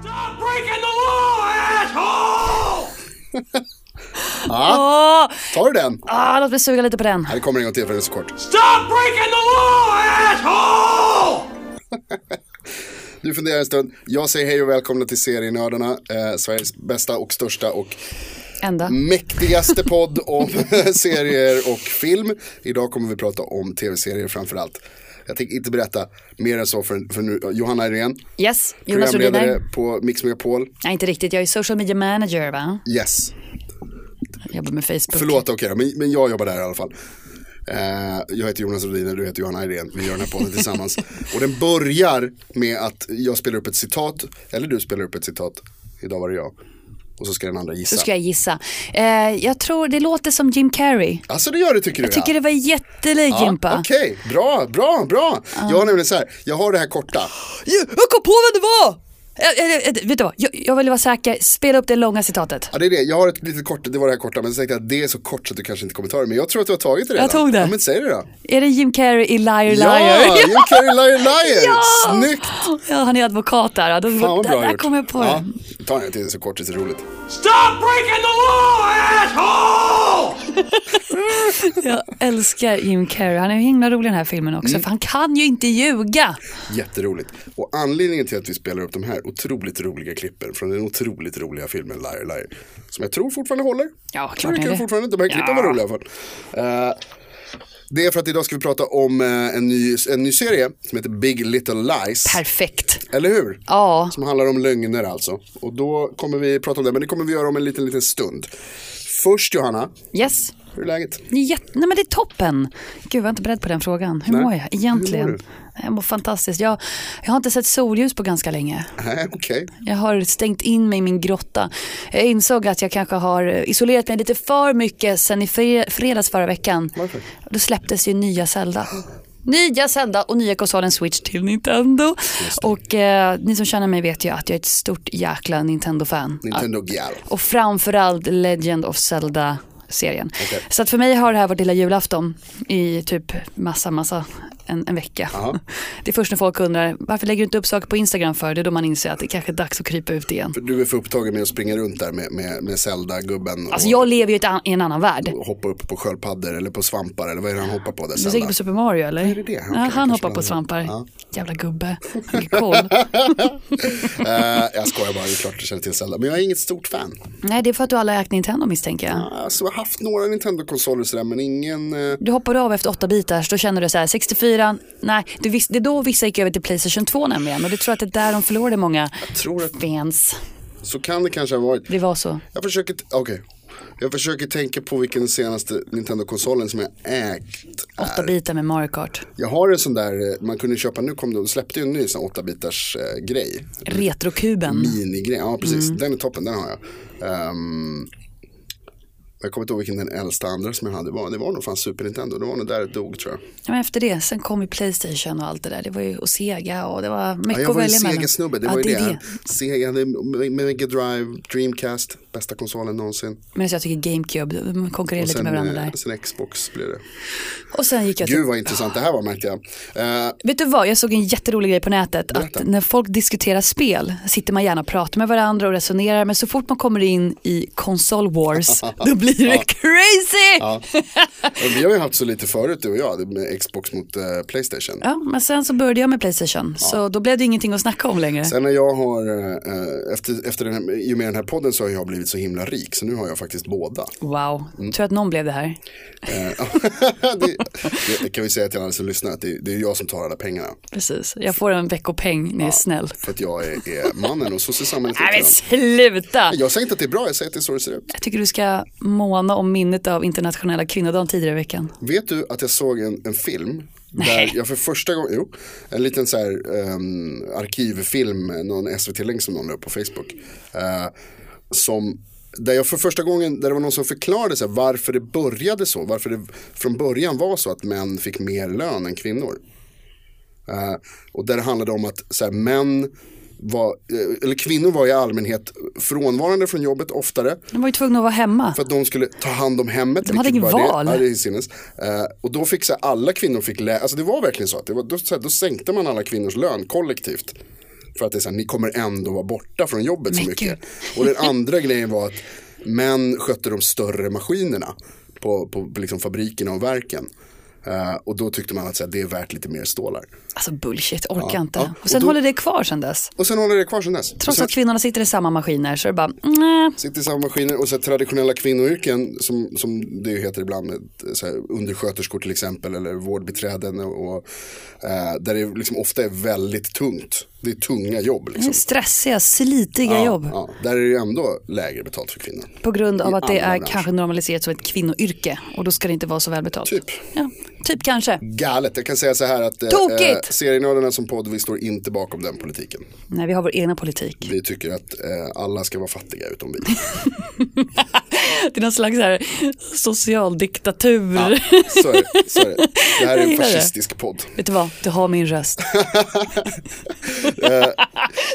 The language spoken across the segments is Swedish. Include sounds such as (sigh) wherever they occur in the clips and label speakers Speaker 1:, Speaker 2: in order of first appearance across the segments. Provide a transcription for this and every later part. Speaker 1: Stop breaking the law, asshole!
Speaker 2: Ja,
Speaker 3: Åh,
Speaker 2: tar du den?
Speaker 3: ah, låt mig suga lite på den.
Speaker 2: Nej, det kommer en gång till för den är så kort.
Speaker 1: Stop breaking the law, asshole!
Speaker 2: Du funderar en stund. Jag säger hej och välkomna till Serienördarna, eh, Sveriges bästa och största och
Speaker 3: Ända.
Speaker 2: Mm. mäktigaste podd om (laughs) serier och film. Idag kommer vi prata om tv-serier framförallt. Jag tänker inte berätta mer än så för, för nu. Johanna Irén,
Speaker 3: Yes, Jonas
Speaker 2: programledare
Speaker 3: Rhodiner.
Speaker 2: på Mix Megapol.
Speaker 3: Nej, inte riktigt. Jag är social media manager, va?
Speaker 2: Yes,
Speaker 3: Jag jobbar med Facebook.
Speaker 2: förlåt okej då, men, men jag jobbar där i alla fall. Eh, jag heter Jonas Rhodiner, du heter Johanna Irén, vi gör den här podden
Speaker 3: (laughs)
Speaker 2: tillsammans. Och den börjar med att jag spelar upp ett citat, eller du spelar upp ett citat, idag var det jag. Och så ska den andra gissa.
Speaker 3: Då ska jag gissa. Eh, jag tror det låter som Jim Carrey.
Speaker 2: Alltså det gör det tycker du
Speaker 3: Jag tycker det var jättelik Jimpa.
Speaker 2: Okej, bra, bra, bra. Jag har nämligen så här, jag har det här korta.
Speaker 3: Jag, jag kom på vem det var! Eh, eh, eh, vet du vad, jag, jag ville vara säker. Spela upp det långa citatet.
Speaker 2: Ja, det är det. Jag har ett litet kort, det var det här korta, men så tänkte jag att det är så kort så att du kanske inte kommer ta det. Men jag tror att du har tagit det redan.
Speaker 3: Jag tog det.
Speaker 2: Ja, men säg det då.
Speaker 3: Är det Jim Carrey i Liar
Speaker 2: Ja,
Speaker 3: (laughs) Liar?
Speaker 2: you carry liar liar. Snyggt.
Speaker 3: Ja, han är advokat där. Ja, Då,
Speaker 2: Fan vad bra
Speaker 3: där, där
Speaker 2: gjort.
Speaker 3: kom jag på
Speaker 2: ja,
Speaker 3: den.
Speaker 2: Ta en till, det är så kort, det är så roligt.
Speaker 1: Stop breaking the law, asshole!
Speaker 3: Jag älskar Jim Carrey. Han är ju himla rolig i den här filmen också.
Speaker 2: Mm.
Speaker 3: För han kan ju inte ljuga.
Speaker 2: Jätteroligt. Och anledningen till att vi spelar upp de här otroligt roliga klippen från den otroligt roliga filmen Liar Liar. Som jag tror fortfarande håller.
Speaker 3: Ja, klart
Speaker 2: Jag
Speaker 3: är
Speaker 2: tycker
Speaker 3: det.
Speaker 2: fortfarande inte de här klippen var
Speaker 3: Ja.
Speaker 2: roliga i alla fall. Eh, det är för att idag ska vi prata om eh, en, ny, en ny serie som heter Big Little Lies.
Speaker 3: Perfekt.
Speaker 2: Eller hur?
Speaker 3: Ja.
Speaker 2: Som handlar om lögner alltså. Och då kommer vi prata om det, men det kommer vi göra om en liten, liten stund. Först Johanna,
Speaker 3: Yes.
Speaker 2: hur är läget? (laughs)
Speaker 3: Ni är jätte- Nej men det är toppen. Gud jag var inte beredd på den frågan. Hur
Speaker 2: Nej.
Speaker 3: mår jag egentligen?
Speaker 2: Hur mår du?
Speaker 3: jag mår fantastiskt. Jag, jag har inte sett solljus på ganska länge.
Speaker 2: Nej, okej.
Speaker 3: Jag har stängt in mig i min grotta. Jag insåg att jag kanske har isolerat mig lite för mycket sen i fre- fredags förra veckan.
Speaker 2: Varför?
Speaker 3: Då släpptes ju nya Zelda. Nya Zelda och nya konsolen Switch till Nintendo. Och eh, ni som känner mig vet ju att jag är ett stort jäkla Nintendo-fan.
Speaker 2: Nintendo Gal.
Speaker 3: Och framförallt Legend of Zelda serien. Så att för mig har det här varit lilla julafton i typ massa, massa, en, en vecka. (laughs) Det är först när folk undrar, varför lägger du inte upp saker på Instagram för? Det är då man inser att det kanske är dags att krypa ut igen.
Speaker 2: För du är för upptagen med att springa runt där med, med, med Zelda-gubben.
Speaker 3: Alltså
Speaker 2: och-
Speaker 3: jag lever ju i ett an- i en annan värld.
Speaker 2: och hoppa upp på sköldpaddor eller på svampar eller vad är det han hoppar på där
Speaker 3: Du tänker
Speaker 2: sällan?
Speaker 3: på Super Mario eller?
Speaker 2: det det? Okej,
Speaker 3: ja,
Speaker 2: kanske
Speaker 3: han hoppar på
Speaker 2: man-
Speaker 3: svampar.
Speaker 2: Ja.
Speaker 3: Jävla gubbe. Han är
Speaker 2: (laughs)
Speaker 3: cool.
Speaker 2: Eh, jag skojar bara, det är klart jag känner till Zelda. Men jag är inget stort fan.
Speaker 3: Nej, det är för att du aldrig har ägt Nintendo misstänker jag.
Speaker 2: Alltså, jag har haft några Nintendo-konsoler sådär men ingen... eh,
Speaker 3: Du hoppade av efter åtta bitar, då känner du så här 64, nej, det, vis- det är då vissa gick över till Playstation 2 nämligen och det tror jag att det är där de förlorade många
Speaker 2: Jag tror att
Speaker 3: fans.
Speaker 2: så kan det kanske ha varit.
Speaker 3: Det var så.
Speaker 2: Jag försöker, t- okej. Jag försöker tänka på vilken senaste Nintendo-konsolen som jag ägt
Speaker 3: Åtta
Speaker 2: är.
Speaker 3: bitar med Mario Kart.
Speaker 2: Jag har en sån där, eh, man kunde köpa, nu kom det, de släppte ju en ny sån 8-bitars eh, grej.
Speaker 3: Retrokuben.
Speaker 2: Minigrej, ja precis.
Speaker 3: Mm.
Speaker 2: Den är toppen, den har jag. Ehm, jag kommer inte ihåg vilken den äldsta andra som jag hade var. Det var nog fan Super Nintendo, det var nog där det dog tror jag.
Speaker 3: Ja, men efter det, sen kom ju Playstation och allt det där. Det var ju och Sega och det var
Speaker 2: Ja,
Speaker 3: mycket
Speaker 2: jag
Speaker 3: att
Speaker 2: var ju
Speaker 3: välja mellan.
Speaker 2: Sega-snubbe, det
Speaker 3: ja,
Speaker 2: var ju
Speaker 3: det.
Speaker 2: det.
Speaker 3: är det.
Speaker 2: Sega, det är Mega Drive, Dreamcast, bästa konsolen någonsin.
Speaker 3: Men så jag tycker GameCube, de konkurrerar
Speaker 2: Och
Speaker 3: lite
Speaker 2: sen,
Speaker 3: med varandra
Speaker 2: eh,
Speaker 3: där.
Speaker 2: sen Xbox blev det.
Speaker 3: Och sen gick jag till
Speaker 2: Gud vad intressant det här var märkte jag. Eh,
Speaker 3: Vet du vad, jag såg en jätterolig grej på nätet.
Speaker 2: Berätta.
Speaker 3: Att när folk diskuterar spel sitter man gärna och pratar med varandra och resonerar. Men så fort man kommer in i
Speaker 2: (laughs)
Speaker 3: console wars, då blir det crazy! Ja.
Speaker 2: vi har ju haft så lite förut du och jag, det med Xbox mot eh, Playstation.
Speaker 3: men sen så började jag med Playstation. Så då blev det ingenting att snacka om längre.
Speaker 2: Sen när jag har, eh, efter, efter den här, i och med den här podden så har jag blivit så himla rik så nu har jag faktiskt båda.
Speaker 3: Wow,
Speaker 2: Mm.
Speaker 3: tror att någon blev det här.
Speaker 2: det, det kan vi säga till alla som lyssnar att det, det är jag som tar alla pengarna.
Speaker 3: Precis, jag får en veckopeng när jag är snäll.
Speaker 2: För att jag är, är mannen och sosse i samhället.
Speaker 3: Nej men sluta!
Speaker 2: Jag säger inte att det är bra, jag säger att det är så det ser ut.
Speaker 3: Jag tycker du ska måna om minnet av internationella kvinnodagen tidigare i veckan.
Speaker 2: Vet du att jag såg en, en film
Speaker 3: Nej.
Speaker 2: där jag för första gången, jo, en liten så här ehm, arkivfilm, någon SVT-länk som någon la upp på Facebook. eh, som, där jag för första gången, där det var någon som förklarade så här, varför det började så, varför det från början var så att män fick mer lön än kvinnor. Eh, och där det handlade om att så här, män var, eh, eller kvinnor var i allmänhet frånvarande från jobbet oftare.
Speaker 3: De var ju tvungna att vara hemma.
Speaker 2: För att de skulle ta hand om hemmet.
Speaker 3: De hade
Speaker 2: vilket
Speaker 3: ingen
Speaker 2: var det-
Speaker 3: val.
Speaker 2: Ja, det är sinnes. Eh, och då fick så här, alla kvinnor fick lä- alltså det var verkligen så att det var, då, så här, då sänkte man alla kvinnors lön kollektivt. För att det är så här, ni kommer ändå vara borta från jobbet så
Speaker 3: Men
Speaker 2: mycket. Och den andra grejen var att män skötte de större maskinerna på, på, på liksom fabrikerna och verken. Eh, och då tyckte man att så här, det är värt lite mer stålar.
Speaker 3: Alltså bullshit, orkar inte.
Speaker 2: ja.
Speaker 3: Och sen
Speaker 2: Och då-
Speaker 3: håller det kvar sen dess.
Speaker 2: Och sen håller det kvar sedan dess. Och
Speaker 3: Trots
Speaker 2: sen,
Speaker 3: att kvinnorna sitter i samma maskiner så är det bara, "Mm, nej.
Speaker 2: Sitter i samma maskiner och så här, traditionella kvinnoyrken som, som det ju heter ibland, eh, så här, undersköterskor till exempel eller vårdbiträden och, och eh, där det liksom ofta är väldigt tungt. Det är tunga jobb liksom.
Speaker 3: Stressiga, slitiga Mm, jobb.
Speaker 2: Ja, där är det ju ändå lägre betalt för kvinnor.
Speaker 3: På grund av
Speaker 2: I
Speaker 3: att det
Speaker 2: alla
Speaker 3: är
Speaker 2: branscher.
Speaker 3: kanske normaliserat som ett kvinnoyrke och då ska det inte vara så välbetalt.
Speaker 2: Typ.
Speaker 3: Ja, typ kanske.
Speaker 2: Galet, jag kan säga så här att eh,
Speaker 3: Tokigt!
Speaker 2: eh, serienördarna som podd, vi står inte bakom den politiken.
Speaker 3: Nej, vi har vår
Speaker 2: (laughs)
Speaker 3: egna politik.
Speaker 2: Vi tycker att eh, alla ska vara fattiga utom
Speaker 3: (laughs)
Speaker 2: vi.
Speaker 3: Det är någon slags så här social diktatur.
Speaker 2: Så är det, så är det. det här är
Speaker 3: Jag
Speaker 2: en
Speaker 3: gillar det.
Speaker 2: fascistisk podd.
Speaker 3: Vet du vad, du har min röst.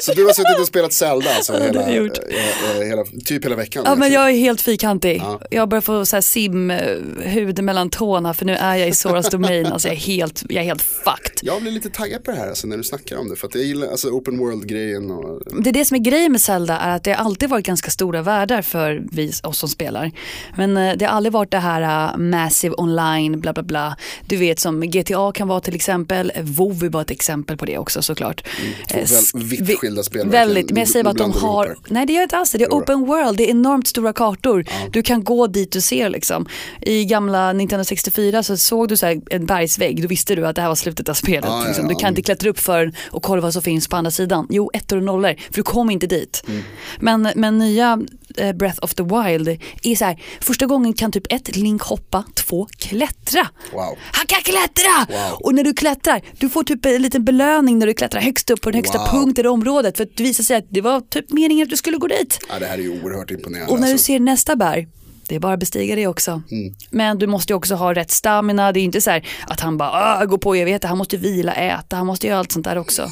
Speaker 2: Så du har suttit och spelat Zelda alltså,
Speaker 3: det
Speaker 2: hela,
Speaker 3: har jag gjort.
Speaker 2: eh, eh, hela, typ hela veckan.
Speaker 3: Ja, men
Speaker 2: egentligen.
Speaker 3: jag är helt fyrkantig. Jag börjar få så här simhud mellan tårna för nu är jag i Soras domain. Alltså jag är helt, jag är helt fucked.
Speaker 2: jag blir lite taggad på det här alltså, när du snackar om det. För att jag gillar alltså, open world-grejen. Och...
Speaker 3: Det är det som är grejen med Zelda är att det har alltid varit ganska stora världar för vi, oss som spelar. Men eh, det har aldrig varit det här uh, massive online, bla bla bla. Du vet som GTA kan vara till exempel, WoW är bara ett exempel på det också såklart. Eh,
Speaker 2: Mm, väl-
Speaker 3: sk-
Speaker 2: vitt
Speaker 3: vi-
Speaker 2: skilda spel verkligen.
Speaker 3: Väldigt, men jag
Speaker 2: Nu-
Speaker 3: säger bara att
Speaker 2: nu
Speaker 3: de
Speaker 2: blandar du
Speaker 3: har,
Speaker 2: ihop
Speaker 3: nej det gör inte alls det, det är
Speaker 2: Jo då.
Speaker 3: open world, det är enormt stora kartor. Du kan gå dit du ser liksom. I gamla Nintendo 64 så såg du så här en bergsvägg, då visste du att det här var slutet av spelet.
Speaker 2: Ja, ja,
Speaker 3: liksom. Du
Speaker 2: ja.
Speaker 3: kan inte klättra upp för och kolla vad som finns på andra sidan. Jo, ettor och nollor, för du kom inte dit.
Speaker 2: Mm.
Speaker 3: Men, men nya eh, Breath of the Wild är så här, första gången kan typ ett Link hoppa, två klättra.
Speaker 2: Wow.
Speaker 3: Han kan klättra!
Speaker 2: Wow.
Speaker 3: Och när du klättrar, du får typ en liten belöning när du klättrar högst upp på den högsta
Speaker 2: Wow.
Speaker 3: punkten i området. För att det visar sig att det var typ meningen att du skulle gå dit.
Speaker 2: Ja, det här är ju oerhört imponerande.
Speaker 3: Och när du
Speaker 2: alltså. (laughs) Mm.
Speaker 3: ser nästa berg, det är bara att bestiga det också. Men du måste ju också ha rätt stamina. Det är ju inte så här att han bara "Ah, går på evigheter. Han måste vila, äta, han måste göra allt sånt där också.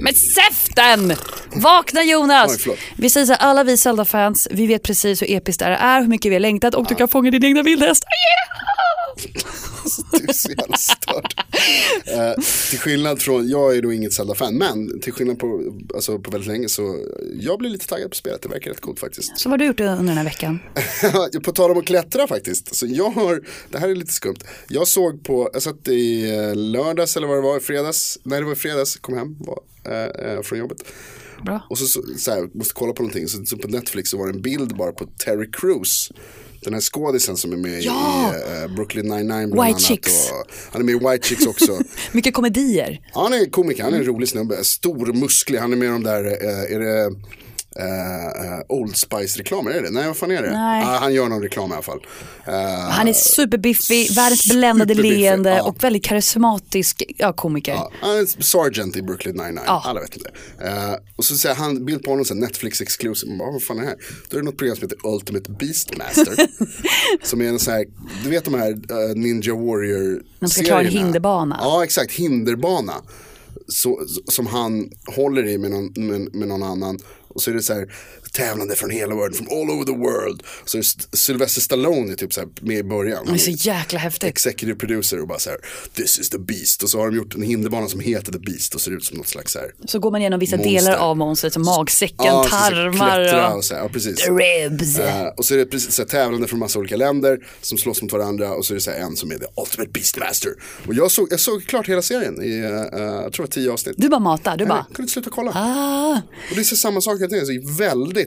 Speaker 3: Men säften! Vakna Jonas!
Speaker 2: Oj, förlåt.
Speaker 3: vi säger så här, alla vi Zelda-fans, vi vet precis hur episkt det här är, hur mycket vi har längtat och du kan fånga din egna vildhäst.
Speaker 2: Du är så jävla störd. Eh, till skillnad från, jag är då inget Zelda-fan, men till skillnad på, alltså, på väldigt länge så jag blir lite taggad på spelet, det verkar rätt coolt faktiskt.
Speaker 3: Så vad har du gjort under den
Speaker 2: (laughs)
Speaker 3: här veckan?
Speaker 2: på tal om att klättra faktiskt. Så jag har, det här är lite skumt. Jag såg på, jag satt i eh, lördags eller vad det var, i fredags. Nej det var i fredags, kom hem var, eh, eh, från jobbet.
Speaker 3: Bra.
Speaker 2: Och så, så, så här, måste kolla på någonting. Så, så på Netflix så var det en bild bara på Terry Crews. Den här skådisen som är med
Speaker 3: Ja!
Speaker 2: i eh, Brooklyn 99 bland
Speaker 3: White
Speaker 2: annat.
Speaker 3: Chicks.
Speaker 2: Och, han är med i White Chicks
Speaker 3: (laughs)
Speaker 2: också.
Speaker 3: Mycket komedier.
Speaker 2: Ja, han är komiker, han är en rolig snubbe. Stor, musklig, han är med i de där, eh, är det eh, eh, Old Spice-reklamer? Är det? Nej, vad fan är det?
Speaker 3: Nej.
Speaker 2: Ah, han gör någon reklam i alla fall. Eh,
Speaker 3: Han är superbiffig, världens bländade
Speaker 2: superbiffig,
Speaker 3: leende
Speaker 2: ja.
Speaker 3: och väldigt karismatisk ja, komiker.
Speaker 2: ja, han är sergeant i Brooklyn 99,
Speaker 3: Ja.
Speaker 2: alla vet inte. Eh, och så ser han bild på honom, så här, Netflix exclusive, Man bara, vad fan är det här? Då är det något program som heter Ultimate
Speaker 3: (laughs)
Speaker 2: Beastmaster. som är en så här, du vet de här eh, Ninja Warrior
Speaker 3: De ska klara en hinderbana.
Speaker 2: Ja, exakt. Hinderbana. Så, som han håller i med någon, med, med någon annan. Och så är det så här tävlande från hela världen, from all over the world. Så är det St- Sylvester Stallone är typ så här med i början.
Speaker 3: Det är så jäkla häftigt.
Speaker 2: Executive producer och bara så här, this is the beast. Och så har de gjort en hinderbana som heter the beast och ser ut som något slags så här.
Speaker 3: Så går man igenom vissa
Speaker 2: Monster.
Speaker 3: delar av monstret, som magsäcken,
Speaker 2: Ja, så ska
Speaker 3: tarmar
Speaker 2: klättra
Speaker 3: och
Speaker 2: och så här. Ja, precis.
Speaker 3: ribs.
Speaker 2: Eh, och så är det precis så här, tävlande från massa olika länder som slåss mot varandra och så är det så här, en som är the ultimate beastmaster. Och jag såg, jag såg klart hela serien i, eh, eh, jag tror det var tio avsnitt.
Speaker 3: Du bara matar, du
Speaker 2: Nej,
Speaker 3: bara,
Speaker 2: Jag kunde inte sluta kolla.
Speaker 3: ah.
Speaker 2: Och det är så samma sak hela tiden, så det är väldigt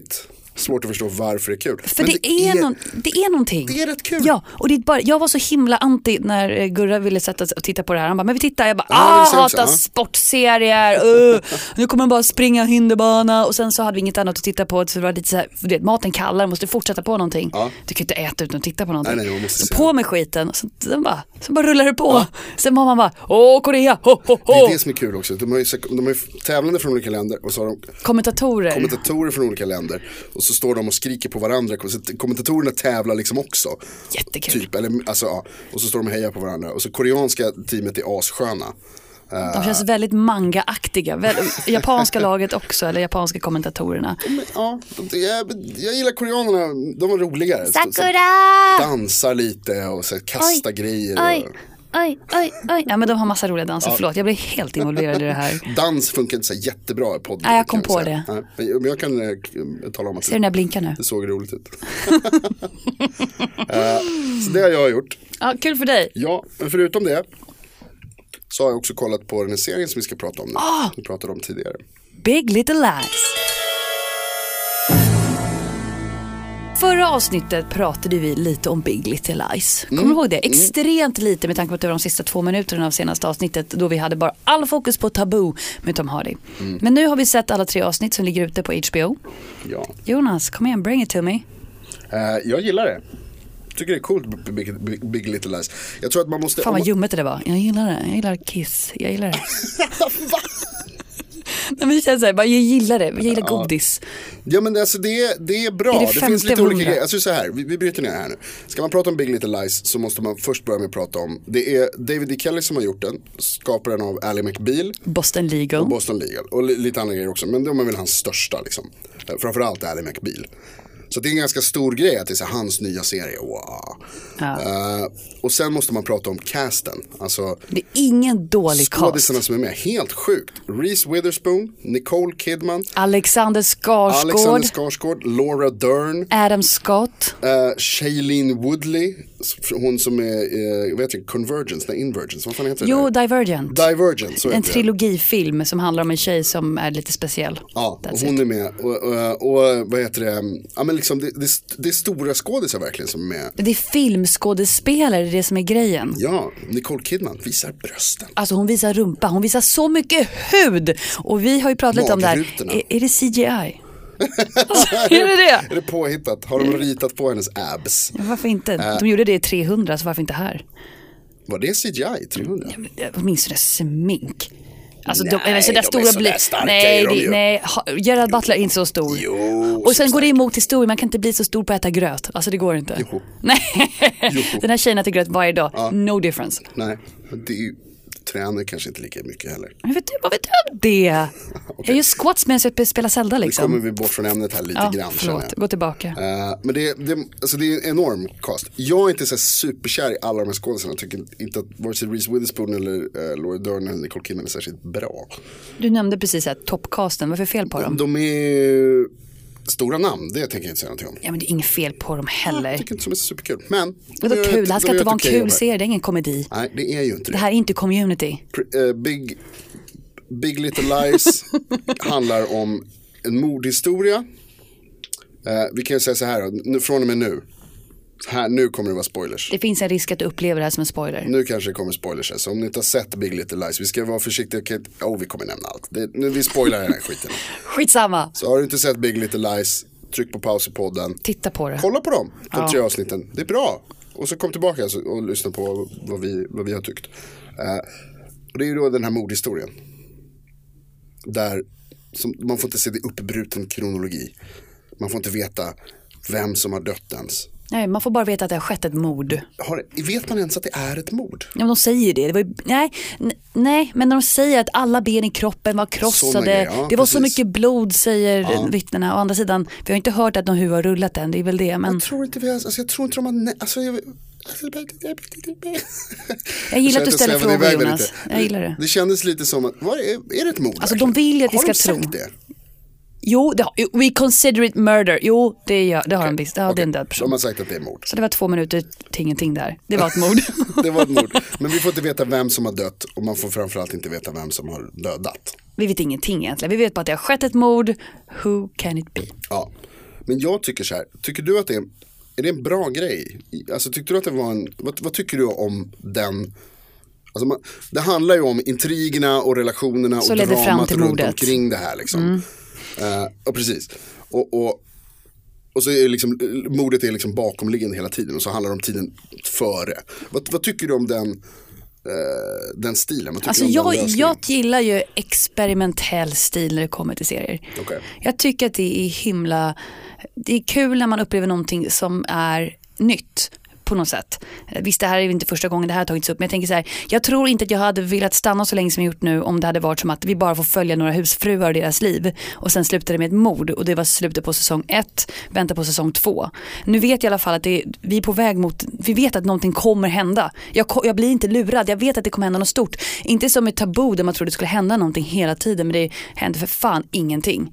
Speaker 2: svårt att förstå varför det är kul.
Speaker 3: För
Speaker 2: Men
Speaker 3: det, är någon, det är någonting.
Speaker 2: det är rätt kul.
Speaker 3: Ja, och det är bara, jag var så himla anti när eh, Gurra ville sätta sig och titta på det här. Han bara, men vi tittar. Jag bara,
Speaker 2: det är
Speaker 3: ah,
Speaker 2: sant,
Speaker 3: hatar
Speaker 2: ja.
Speaker 3: sportserier. Uh. Nu kommer de bara springa hinderbana. Och sen så hade vi inget annat att titta på. Så det var lite så här, du vet, maten kallar, måste fortsätta på någonting. Du kan ju inte äta utan att titta på någonting.
Speaker 2: Nej, nej, man måste
Speaker 3: så
Speaker 2: se.
Speaker 3: på med skiten. Och sen, sen, bara, sen bara rullar det på. Sen var man bara, åh Korea, ho, ho,
Speaker 2: Det
Speaker 3: ho.
Speaker 2: är det som är kul också. De har ju, så- de har ju tävlande från olika länder och så har de
Speaker 3: Kommentatorer.
Speaker 2: kommentatorer från olika länder. Och så står de och skriker på varandra. Så att kommentatorerna tävlar liksom också.
Speaker 3: Jättekul.
Speaker 2: Typ, eller, alltså, ja. Och så står de och hejar på varandra. Och så koreanska teamet är assköna.
Speaker 3: De känns väldigt manga-aktiga. Väl, japanska laget också, eller japanska kommentatorerna.
Speaker 2: Men, ja, de, jag, jag gillar koreanerna, de var roligare. Så- så
Speaker 4: Sakura!
Speaker 2: Dansar lite och så här, kastar grejer.
Speaker 4: Oj,
Speaker 2: Och,
Speaker 3: aj, aj, aj. Ja, men de har massa roliga danser, förlåt. Jag blir helt involverad i det här.
Speaker 2: Dans funkar inte så här jättebra i podden.
Speaker 3: Nej, jag kom
Speaker 2: kan
Speaker 3: på
Speaker 2: säga.
Speaker 3: det.
Speaker 2: Nej, men jag- men jag kan eh, k- tala om att
Speaker 3: Ser du när jag blinkar nu?
Speaker 2: det såg roligt
Speaker 3: (laughs)
Speaker 2: ut. (laughs) Eh, så det har jag gjort.
Speaker 3: Ja, kul för dig.
Speaker 2: Ja, men förutom det så har jag också kollat på den här serien som vi ska prata om nu.
Speaker 3: Ah!
Speaker 2: Vi pratade om tidigare.
Speaker 3: Big Little Lies. Förra avsnittet pratade vi lite om Big Little Lies. Kommer du ihåg det? Extremt lite med tanke på att det var de sista två minuterna av senaste avsnittet då vi hade bara all fokus på Tabu med Tom Hardy. Men nu har vi sett alla tre avsnitt som ligger ute på HBO.
Speaker 2: Ja.
Speaker 3: Jonas, kom igen, bring it to me.
Speaker 2: Eh, jag gillar det. Tycker det är coolt b- Big, big, big Little Lies. Jag tror att man måste...
Speaker 3: Fan
Speaker 2: om-
Speaker 3: vad ljummet det där var. Jag gillar det, jag gillar Kiss, jag
Speaker 2: (laughs)
Speaker 3: gillar det.
Speaker 2: Alltså, Va?
Speaker 3: Nej, men det känns så här, bara, jag gillar det, jag gillar godis.
Speaker 2: Ja men alltså det, är- det är bra.
Speaker 3: Är det
Speaker 2: det, finns lite
Speaker 3: 500?
Speaker 2: olika grejer. Alltså så här, vi, vi bryter ner här nu. Ska man prata om Big Little Lies så måste man först börja med att prata om. Det är David E. Kelly som har gjort den. Skaparen av Ally McBeal.
Speaker 3: Boston Legal.
Speaker 2: Boston Legal och li- lite andra grejer också. Men de är väl hans största liksom. Eh, Framförallt Ally McBeal. Så det är en ganska stor grej att det är så här, hans nya serie. Wow.
Speaker 3: Ja.
Speaker 2: Eh, och sen måste man prata om casten. Alltså
Speaker 3: Det är ingen dålig cast.
Speaker 2: skådisarna som är med. Helt sjukt. Reese Witherspoon, Nicole Kidman,
Speaker 3: Alexander Skarsgård,
Speaker 2: Alexander Skarsgård, Laura Dern.
Speaker 3: Adam Scott.
Speaker 2: Uh, Shailene Woodley, s- hon som är, uh, vet jag, Convergence, nej Invergence, vad fan heter
Speaker 3: Jo,
Speaker 2: det? där?
Speaker 3: Divergent.
Speaker 2: Divergent, så
Speaker 3: en
Speaker 2: heter det.
Speaker 3: trilogifilm som handlar om en tjej som är lite speciell.
Speaker 2: Ja, och
Speaker 3: That's
Speaker 2: hon
Speaker 3: it.
Speaker 2: är med. Och, och, och vad heter det, ja men liksom det, det, det är stora skådisar verkligen som är med.
Speaker 3: Det är filmskådespelare, det är det som är grejen.
Speaker 2: Ja, Nicole Kidman visar brösten.
Speaker 3: Alltså hon visar rumpa, hon visar så mycket hud. Och vi har ju pratat lite om det här.
Speaker 2: Magrutorna.
Speaker 3: Är, är det
Speaker 2: (laughs)
Speaker 3: CGI? alltså, är det det?
Speaker 2: Är det påhittat? Har de ritat på hennes abs?
Speaker 3: Ja, Varför
Speaker 2: Äh.
Speaker 3: inte? De gjorde det i 300, så varför inte här?
Speaker 2: Var det CGI 300?
Speaker 3: Eh, Åtminstone smink. Alltså de,
Speaker 2: Nej,
Speaker 3: nej, så
Speaker 2: de
Speaker 3: där
Speaker 2: är
Speaker 3: stora
Speaker 2: sådär
Speaker 3: blir-
Speaker 2: starka
Speaker 3: nej,
Speaker 2: är de
Speaker 3: det-
Speaker 2: ju.
Speaker 3: nej, ha- Gerard Butler är inte så stor.
Speaker 2: Jo,
Speaker 3: och sen går det emot historien, man kan inte bli så stor på att äta gröt. Alltså det går inte.
Speaker 2: Jo.
Speaker 3: Nej.
Speaker 2: Jo.
Speaker 3: (laughs) Den här tjejen äter gröt varje dag, no difference.
Speaker 2: Nej, det är ju, tränar kanske inte lika mycket heller.
Speaker 3: Men vet du, vad vet du om
Speaker 2: (laughs)
Speaker 3: det? Jag gör squats medan jag spelar Zelda
Speaker 2: Nu kommer
Speaker 3: liksom.
Speaker 2: vi bort från ämnet här lite
Speaker 3: Ja,
Speaker 2: grann. känner
Speaker 3: förlåt,
Speaker 2: jag.
Speaker 3: gå tillbaka.
Speaker 2: Eh, men det, det, alltså det är en enorm cast. Jag är inte så här superkär i alla de här skådisarna. Jag tycker inte att vare sig Reese Witherspoon eller eh, Laura Dern eller Nicole Kidman är särskilt bra.
Speaker 3: Du nämnde precis här, toppcasten, vad är för fel på dem?
Speaker 2: De är stora namn, det tänker jag inte säga någonting om.
Speaker 3: Ja men det är inget fel på dem
Speaker 2: Jag
Speaker 3: heller.
Speaker 2: tycker inte som är superkul. Men.
Speaker 3: Det
Speaker 2: de gör
Speaker 3: kul,
Speaker 2: ett-
Speaker 3: det här ska
Speaker 2: de gör
Speaker 3: inte vara en
Speaker 2: ett okej
Speaker 3: kul
Speaker 2: jobb här.
Speaker 3: serie, det är ingen komedi.
Speaker 2: Nej, det är ju inte
Speaker 3: Det
Speaker 2: det.
Speaker 3: här är inte community.
Speaker 2: Pr- eh, Big, Big Little
Speaker 3: (laughs)
Speaker 2: Lies handlar om en mordhistoria. Eh, vi kan ju säga så här, då, nu, från och med nu. Här, nu kommer det vara spoilers.
Speaker 3: Det finns en risk att du upplever det här som en spoiler.
Speaker 2: Nu kanske det kommer spoilers här, så om ni inte har sett Big Little Lies, vi ska vara försiktiga, jag kan inte- oh, vi kommer nämna allt. Det, nu, vi spoilar den här skiten.
Speaker 3: Skitsamma.
Speaker 2: Så har du inte sett Big Little Lies, tryck på paus i podden.
Speaker 3: Titta på det.
Speaker 2: Kolla på dem, de
Speaker 3: Ja.
Speaker 2: tre avsnitten. Det är bra. Och så kom tillbaka så- och lyssna på vad vi, vad vi har tyckt. Eh, och det är ju då den här mordhistorien. Där som, man får inte se det i uppbruten kronologi. Man får inte veta vem som har dött ens.
Speaker 3: Nej, man får bara veta att det har skett ett mord.
Speaker 2: Har, vet man ens att det är ett mord?
Speaker 3: Ja, men de säger det. det var ju, nej, n- nej, men när de säger att alla ben i kroppen var
Speaker 2: Såna
Speaker 3: krossade.
Speaker 2: grejer, ja,
Speaker 3: det var så
Speaker 2: precis.
Speaker 3: mycket blod säger vittnena. Å andra sidan, vi har inte hört att någon huvud har rullat än. Det är väl det. Men
Speaker 2: Jag tror inte vi har, alltså jag tror inte de har, nä- alltså jag,
Speaker 3: jag gillar att du
Speaker 2: svävade
Speaker 3: ställer frågor
Speaker 2: iväg där
Speaker 3: Jonas.
Speaker 2: lite.
Speaker 3: Jag gillar det.
Speaker 2: Det kändes lite som att, var är, är det ett mord?
Speaker 3: Alltså,
Speaker 2: verkligen?
Speaker 3: de vill ju att vi
Speaker 2: har
Speaker 3: ska
Speaker 2: de sagt
Speaker 3: tro.
Speaker 2: det?
Speaker 3: Jo, det har, jo, we consider it murder. Jo, det, gör, det har de visst. Ja, det är en
Speaker 2: De
Speaker 3: död person.
Speaker 2: har sagt att det är mord.
Speaker 3: Så det var två minuter till ingenting där. Det var
Speaker 2: (laughs)
Speaker 3: ett mord.
Speaker 2: Det var ett mord. Men vi får inte veta vem som har dött och man får framförallt inte veta vem som har dödat.
Speaker 3: vi vet ingenting egentligen. Vi vet bara att det har skett ett mord. Who can it be?
Speaker 2: Ja. Men jag tycker så här, tycker du att det är, är det en bra grej? Alltså tyckte du att det var en, vad, vad tycker du om den? Alltså man, det handlar ju om intrigerna och relationerna
Speaker 3: Så
Speaker 2: och
Speaker 3: ledde fram
Speaker 2: dramat
Speaker 3: till
Speaker 2: runt
Speaker 3: mordet. Mm.
Speaker 2: omkring det här liksom. Eh, och precis. Och, och, och så är det liksom, mordet är liksom bakomliggande hela tiden och så handlar det om tiden före. Vad, vad tycker du om den, eh, den stilen? Vad tycker
Speaker 3: Alltså
Speaker 2: du om
Speaker 3: jag,
Speaker 2: den lösningen?
Speaker 3: jag gillar ju experimentell stil när det kommer till serier.
Speaker 2: Okej.
Speaker 3: Jag tycker att det är himla, det är kul när man upplever någonting som är nytt. på något sätt. Eh, Visst det här är inte första gången det här har tagits upp men jag tänker så här, jag tror inte att jag hade velat stanna så länge som jag gjort nu om det hade varit som att vi bara får följa några husfruar och deras liv och sen slutade det med ett mord och det var slutet på säsong ett, vänta på säsong två. Nu vet jag i alla fall att det, vi är på väg mot, vi vet att någonting kommer hända. Jag, ko- jag blir inte lurad, jag vet att det kommer hända något stort. Inte som ett tabu där man trodde det skulle hända någonting hela tiden men det händer för fan ingenting.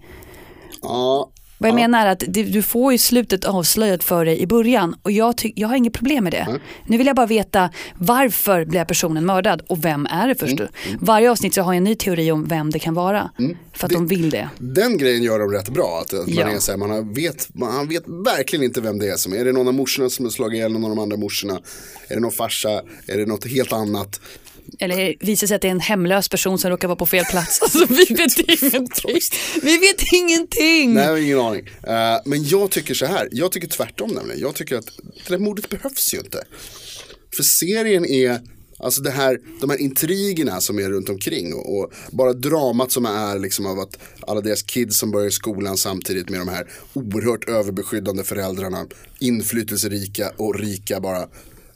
Speaker 2: Ja,
Speaker 3: Vad jag menar är att det, du får ju slutet avslöjat för dig i början och jag, ty- jag har inget problem med det.
Speaker 2: Mm.
Speaker 3: Nu vill jag bara veta varför blev personen mördad och vem är det
Speaker 2: Mm.
Speaker 3: först? Varje avsnitt så har jag en ny teori om vem det kan vara för att de vill det.
Speaker 2: den grejen gör de rätt bra. Att, att
Speaker 3: Ja.
Speaker 2: man, är så här, man, har- vet, man han vet verkligen inte vem det är som är. Är det någon av morsorna som har slagit ihjäl någon av de andra morsorna? Är det någon farsa? Är det något helt annat?
Speaker 3: Eller visar sig att det är en hemlös person som råkar vara på fel plats. (laughs) Alltså, vi vet ingenting. Vi vet ingenting.
Speaker 2: Nej, jag har ingen aning. Eh, men jag tycker så här, jag tycker tvärtom nämligen. Jag tycker att det där mordet behövs ju inte. För serien är, alltså det här, de här intrigerna som är runt omkring och, och bara dramat som är liksom av att alla deras kids som börjar i skolan samtidigt med de här oerhört överbeskyddande föräldrarna, inflytelserika och rika bara.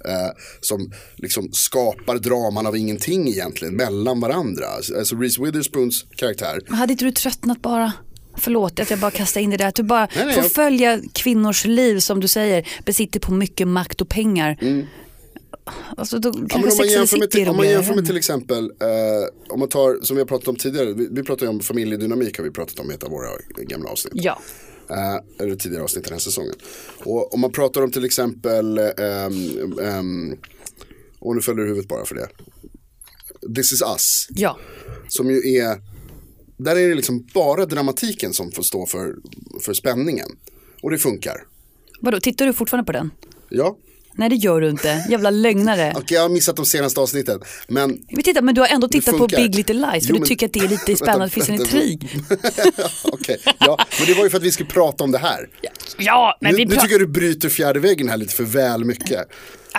Speaker 2: eh, som liksom skapar draman av ingenting egentligen mellan varandra. Alltså Reese Witherspoons karaktär
Speaker 3: Men Hade inte du tröttnat bara? Förlåt att jag bara kastar in det där. Att du bara
Speaker 2: Nej, nej,
Speaker 3: får
Speaker 2: jag-
Speaker 3: följa kvinnors liv som du säger. Besitter på mycket makt och pengar. Alltså då
Speaker 2: Mm. Ja, men
Speaker 3: kanske
Speaker 2: om, man
Speaker 3: Sex and the
Speaker 2: jämför med,
Speaker 3: City är
Speaker 2: till- om man
Speaker 3: roligare.
Speaker 2: jämför med till exempel, eh, om man tar, som vi har pratat om tidigare, vi, vi pratar ju om familjedynamik har vi pratat om i ett av våra gamla avsnitt.
Speaker 3: Ja.
Speaker 2: Eh, eller tidigare avsnitt den här säsongen. Och om man pratar om till exempel, ehm, ehm, och nu följer huvudet bara för det. This is us,
Speaker 3: ja,
Speaker 2: som ju är, där är det liksom bara dramatiken som får stå för, för spänningen. Och det funkar.
Speaker 3: vadå tittar du fortfarande på den?
Speaker 2: Ja,
Speaker 3: Nej det gör du inte, jävla lögnare.
Speaker 2: okej jag har missat de senaste avsnitten. Men
Speaker 3: Men, titta, men du har ändå tittat på
Speaker 2: funkar.
Speaker 3: Big Little Lies för
Speaker 2: Jo,
Speaker 3: du
Speaker 2: men-
Speaker 3: tycker att det är lite spännande, det finns en
Speaker 2: (laughs) vänta, vänta.
Speaker 3: intrig.
Speaker 2: (laughs) Okej, ja, men det var ju för att vi skulle prata om det här.
Speaker 3: Ja, men
Speaker 2: nu,
Speaker 3: vi
Speaker 2: nu
Speaker 3: pratar-
Speaker 2: tycker jag du bryter fjärde väggen här lite för väl mycket.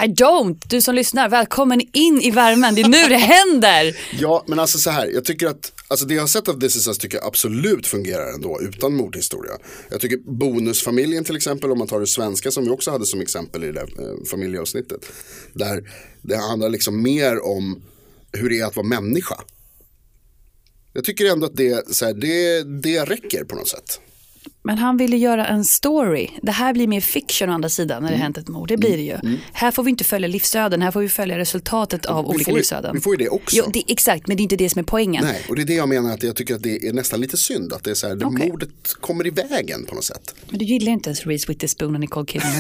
Speaker 3: I don't! Du som lyssnar, välkommen in i värmen. Det är nu det händer.
Speaker 2: Ja, men alltså så här, jag tycker att, alltså det jag har sett av This is Us tycker jag absolut fungerar ändå utan mordhistoria. Jag tycker Bonusfamiljen till exempel, om man tar det svenska som vi också hade som exempel i det där eh, familjeavsnittet. Där det handlar liksom mer om hur det är att vara människa. Jag tycker ändå att det, så här, det, det räcker på något sätt.
Speaker 3: Men han ville göra en story. Det här blir mer fiction å andra sidan
Speaker 2: Mm.
Speaker 3: när det hänt ett mord. Det blir det ju. Här får vi inte följa livsöden, här får vi följa resultatet av
Speaker 2: vi
Speaker 3: olika
Speaker 2: får ju-
Speaker 3: livsöden.
Speaker 2: vi får ju det också.
Speaker 3: Jo, det, exakt, men det är inte det som är poängen.
Speaker 2: Nej, och det är det jag menar att jag tycker att det är nästan lite synd att det är så här, det
Speaker 3: Okej.
Speaker 2: mordet kommer i vägen på något sätt.
Speaker 3: Men du gillar ju inte ens Reese Witherspoon och Nicole
Speaker 2: (laughs)
Speaker 3: Kidman.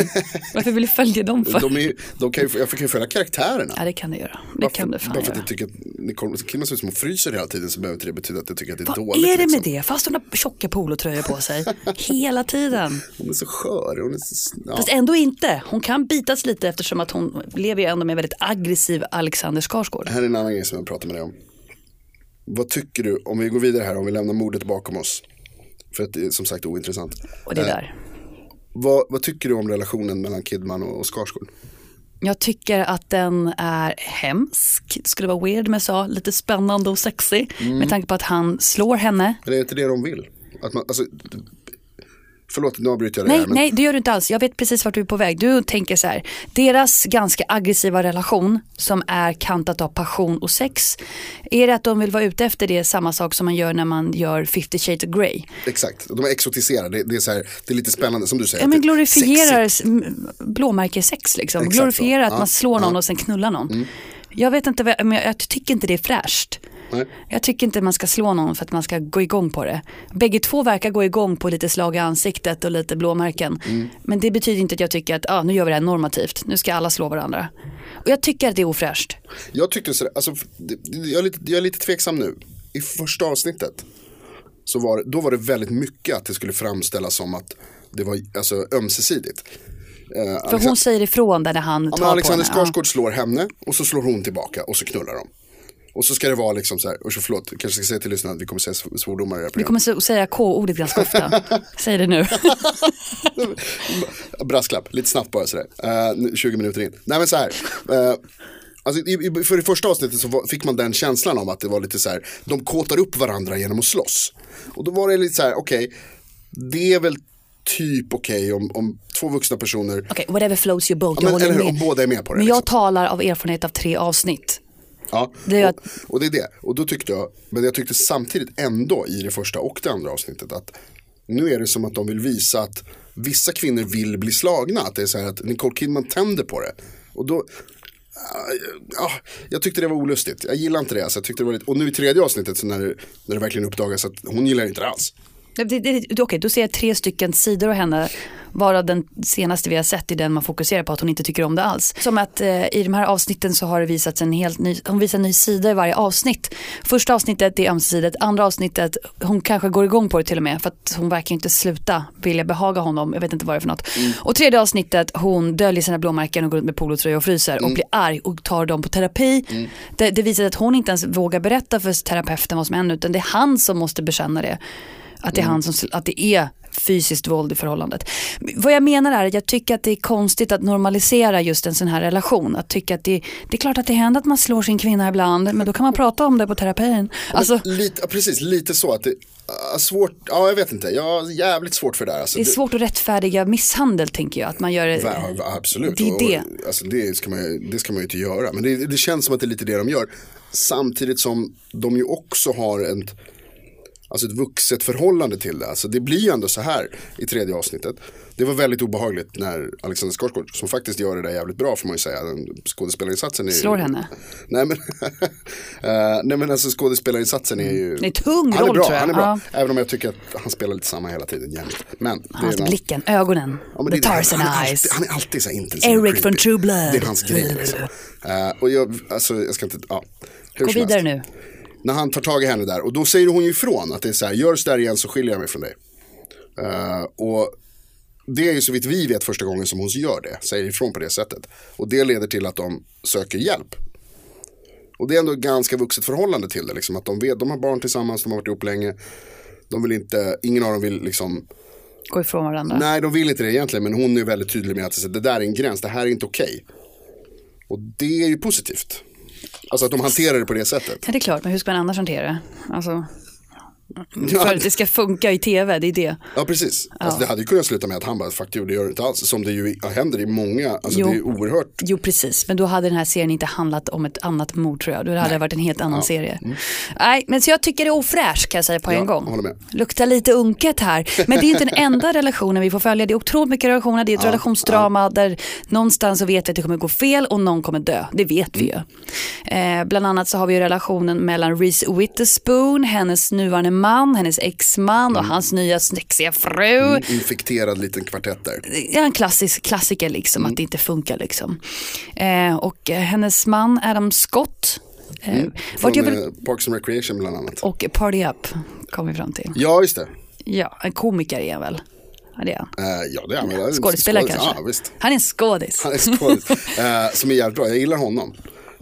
Speaker 3: Varför vill du följa dem för?
Speaker 2: De är, ju- de kan ju, jag fick ju följa karaktärerna.
Speaker 3: Ja, det kan du göra. Det
Speaker 2: Varför-
Speaker 3: kan du
Speaker 2: bara
Speaker 3: fan
Speaker 2: för att
Speaker 3: göra.
Speaker 2: jag tycker att Nicole Kidman ser ut som hon fryser hela tiden så behöver inte det betyda att jag tycker att det är
Speaker 3: Vad
Speaker 2: dåligt.
Speaker 3: är det med
Speaker 2: liksom.
Speaker 3: det? Fast hon har tjocka polotröjor
Speaker 2: (laughs)
Speaker 3: på sig hela tiden.
Speaker 2: Hon är så skör. Hon är så, ja.
Speaker 3: Fast ändå inte. Hon kan bitas lite eftersom att hon lever ju ändå med en väldigt aggressiv Alexander Skarsgård.
Speaker 2: Här är en annan grej som jag pratar med dig om. Vad tycker du, om vi går vidare här, om vi lämnar mordet bakom oss. För att det är som sagt ointressant.
Speaker 3: Och det
Speaker 2: Eh,
Speaker 3: där.
Speaker 2: vad, vad tycker du om relationen mellan Kidman och, och Skarsgård?
Speaker 3: Jag tycker att den är hemsk. Det skulle vara weird om jag sa lite spännande och sexy. Med tanke på att han slår henne.
Speaker 2: Men är det inte det de vill? Att man, alltså, förlåt, nu avbryter jag det
Speaker 3: Nej,
Speaker 2: här. Men,
Speaker 3: nej, det gör du inte alls. Jag vet precis vart du är på väg. Du tänker så här, deras ganska aggressiva relation som är kantat av passion och sex. Är det att de vill vara ute efter det samma sak som man gör när man gör 50 shades of grey?
Speaker 2: Exakt, de är exotiserade. Det, det, är så här, det är lite spännande som du säger.
Speaker 3: Ja, men
Speaker 2: att det-
Speaker 3: glorifierar s- m- blåmärkessex liksom.
Speaker 2: Exakt så.
Speaker 3: glorifierar att
Speaker 2: Ja,
Speaker 3: man slår någon
Speaker 2: ja.
Speaker 3: och sen knullar någon. Jag vet inte, vad jag, men jag, jag tycker inte det är fräscht.
Speaker 2: Nej.
Speaker 3: Jag tycker inte man ska slå någon för att man ska gå igång på det. Bägge två verkar gå igång på lite slag i ansiktet och lite blåmärken.
Speaker 2: Mm.
Speaker 3: Men det betyder inte att jag tycker att ah, nu gör vi det här normativt, nu ska alla slå varandra. Och jag tycker att det är ofräscht.
Speaker 2: Jag tyckte så, alltså, det- det- jag, är lite, jag är lite tveksam nu. I första avsnittet så var, det- då var det väldigt mycket att det skulle framställas som att det var alltså, ömsesidigt. Eh,
Speaker 3: För
Speaker 2: Alexan-
Speaker 3: hon säger ifrån där när han
Speaker 2: ja,
Speaker 3: tar
Speaker 2: men Alexander
Speaker 3: på henne. Ja.
Speaker 2: Skarsgård slår henne och så slår hon tillbaka och så knullar de. Och så ska det vara liksom så här, usch förlåt, jag kanske ska säga till lyssnarna att vi kommer säga sv- svordomar i det här
Speaker 3: Du
Speaker 2: programmet.
Speaker 3: kommer så- säga K-ordet
Speaker 2: (laughs)
Speaker 3: ganska ofta. Säg det nu.
Speaker 2: (laughs) Brasklapp, lite snabbt bara sådär. Eh, nu- 20 minuter in. Nej men så här. eh, Alltså, i, i, för det första avsnittet så var, fick man den känslan av att det var lite så här, de kåtar upp varandra genom att slåss. Och då var det lite så här, okej, det är väl typ okej om, om två vuxna personer,
Speaker 3: Okej, whatever floats your boat,
Speaker 2: Ja, men,
Speaker 3: jag
Speaker 2: eller
Speaker 3: håller
Speaker 2: hur,
Speaker 3: med.
Speaker 2: om båda är med på det.
Speaker 3: Men
Speaker 2: liksom.
Speaker 3: jag talar av erfarenhet av tre avsnitt.
Speaker 2: Ja,
Speaker 3: Det är ju
Speaker 2: och, och det är det. Och då tyckte jag, men jag tyckte samtidigt ändå i det första och det andra avsnittet att nu är det som att de vill visa att vissa kvinnor vill bli slagna. Att det är så här att Nicole Kidman tänder på det. Och då, ja, jag tyckte det var olustigt. Jag gillar inte det. Alltså, jag tyckte det var lite, och nu i tredje avsnittet så när, när det verkligen uppdagas att hon gillar inte det alls.
Speaker 3: Det- det- det- Okej, då ser jag tre stycken sidor av henne. Varav den senaste vi har sett är den man fokuserar på att hon inte tycker om det alls. Som att eh, i de här avsnitten så har det visats en helt ny, hon visar en ny sida i varje avsnitt. Första avsnittet det är ömsesidigt, andra avsnittet hon kanske går igång på det till och med för att hon verkar ju inte sluta vilja behaga honom, jag vet inte vad det är för något. Och tredje avsnittet hon döljer sina blåmärken och går runt med polotröja och fryser och blir arg och tar dem på terapi. Det, det visar att hon inte ens vågar berätta för terapeuten vad som händer utan det är han som måste bekänna det. Att
Speaker 2: Mm.
Speaker 3: det, är han som, att det är fysiskt våld i förhållandet. Vad jag menar är att jag tycker att det är konstigt att normalisera just en sån här relation. Att tycka att det, det är klart att det händer att man slår sin kvinna ibland men då kan man prata om det på terapin. Alltså,
Speaker 2: Lite, ja, precis, lite så att det ja, svårt, ja jag vet inte, jag har jävligt svårt för det där. Alltså,
Speaker 3: det är svårt att rättfärdiga misshandel tänker jag. Att man gör
Speaker 2: Ja, ja, absolut.
Speaker 3: Eh, Det är
Speaker 2: Och-
Speaker 3: det.
Speaker 2: Och, alltså, det, ska man, ju- det ska man ju inte göra. Men det, det känns som att det är lite det de gör. Samtidigt som de ju också har ett, alltså ett vuxet förhållande till det. Alltså, det blir ju ändå så här i tredje avsnittet. Det var väldigt obehagligt när Alexander Skarsgård, som faktiskt gör det där jävligt bra får man ju säga. Den Skådespelarinsatsen är ju...
Speaker 3: Slår henne?
Speaker 2: Nej men, (laughs) Eh, nej, men alltså skådespelarinsatsen är ju...
Speaker 3: Det är tung
Speaker 2: han är
Speaker 3: roll,
Speaker 2: bra,
Speaker 3: tror jag.
Speaker 2: Han är bra.
Speaker 3: Ja.
Speaker 2: Även om jag tycker att han spelar lite samma hela tiden jämt. Men det är
Speaker 3: hans
Speaker 2: en annan-
Speaker 3: Alltså, blicken, ögonen,
Speaker 2: Ja, men
Speaker 3: the
Speaker 2: det är det.
Speaker 3: Tarzan
Speaker 2: han, han, är
Speaker 3: eyes.
Speaker 2: alltid, han är alltid så här intensiv och
Speaker 3: Eric
Speaker 2: creepy.
Speaker 3: från True Blood.
Speaker 2: Det är hans grej. Liksom. Eh, och jag, alltså, jag ska inte, ja. Hur
Speaker 3: Gå
Speaker 2: som
Speaker 3: vidare nu.
Speaker 2: helst. När han tar tag i henne där och då säger hon ju ifrån att det är så här, gör så där igen så skiljer jag mig från dig. Eh, och det är ju så vitt vi vet första gången som hon gör det, säger ifrån på det sättet. Och det leder till att de söker hjälp. Och det är ändå ett ganska vuxet förhållande till det, liksom, att de, vet, de har barn tillsammans, de har varit ihop länge. De vill inte, ingen av dem vill liksom
Speaker 3: Gå ifrån varandra.
Speaker 2: Nej, de vill inte det egentligen, men hon är väldigt tydlig med att det där är en gräns, det här är inte okej. Och det är ju positivt. Alltså att de hanterar det på det sättet.
Speaker 3: Ja, det är klart, men hur ska man annars hantera det? Alltså, för
Speaker 2: Ja,
Speaker 3: att det ska funka i tv, det är det.
Speaker 2: ja precis. Alltså, det hade ju kunnat sluta med att han bara, fuck you, det gör det inte alls. Som det ju händer i många, alltså
Speaker 3: Jo.
Speaker 2: det är oerhört.
Speaker 3: Jo precis, men då hade den här serien inte handlat om ett annat mord tror jag. Då hade det varit en helt annan serie. Nej, men så jag tycker det är ofräscht kan jag säga på
Speaker 2: Mm. Ja,
Speaker 3: en gång.
Speaker 2: jag håller med.
Speaker 3: Luktar lite unket här. Men det är ju inte den enda relationen vi får följa. Det är otroligt mycket relationer, det är ett relationsdrama där någonstans så vet vi att det kommer gå fel och någon kommer dö. Det vet vi ju.
Speaker 2: Mm.
Speaker 3: Eh, bland annat så har vi ju relationen mellan Reese Witherspoon, hennes nuvarande man, hennes exman
Speaker 2: Mm.
Speaker 3: och hans nya sexiga fru
Speaker 2: Infekterad liten kvartett där.
Speaker 3: det är en klassisk klassiker liksom,
Speaker 2: Mm.
Speaker 3: att det inte funkar liksom. Eh, och eh, hennes man Adam Scott. Eh,
Speaker 2: Från
Speaker 3: vart jag vill,
Speaker 2: eh, Parks and Recreation bland annat.
Speaker 3: och Party Up kom vi fram till.
Speaker 2: Ja, just det.
Speaker 3: Ja, en komiker är han väl? Ja, det är han.
Speaker 2: Eh, ja, det är han väl.
Speaker 3: Skådespelare
Speaker 2: Skådis-
Speaker 3: kanske?
Speaker 2: Ja, visst. (laughs)
Speaker 3: Han är en skådis.
Speaker 2: Han är skådis. Eh, som är jävligt bra, jag gillar honom.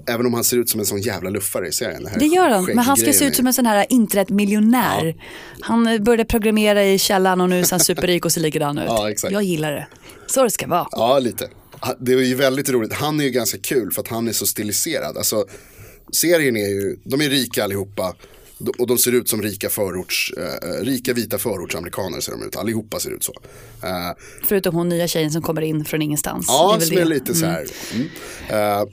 Speaker 2: Även om han ser ut som en sån jävla luffare i serien. här
Speaker 3: Det gör han, men han ska se
Speaker 2: skägggrejen
Speaker 3: ut som en sån här internetmiljonär. Han eh, började programmera i källaren och nu är han superrik och ser likadan ut.
Speaker 2: (laughs) Ja, exakt.
Speaker 3: Jag gillar det. Så det ska vara.
Speaker 2: Ja, lite. Ha- Det är ju väldigt roligt. Han är ju ganska kul för att han är så stiliserad. Alltså, serien är ju, de är rika allihopa. De- Och de ser ut som rika förorts, eh, eh, rika vita förortsamerikaner ser de ut. Allihopa ser ut så. Eh,
Speaker 3: Förutom hon nya tjejen som kommer in från ingenstans.
Speaker 2: ja,
Speaker 3: väl
Speaker 2: som är lite så här. Mm. Eh,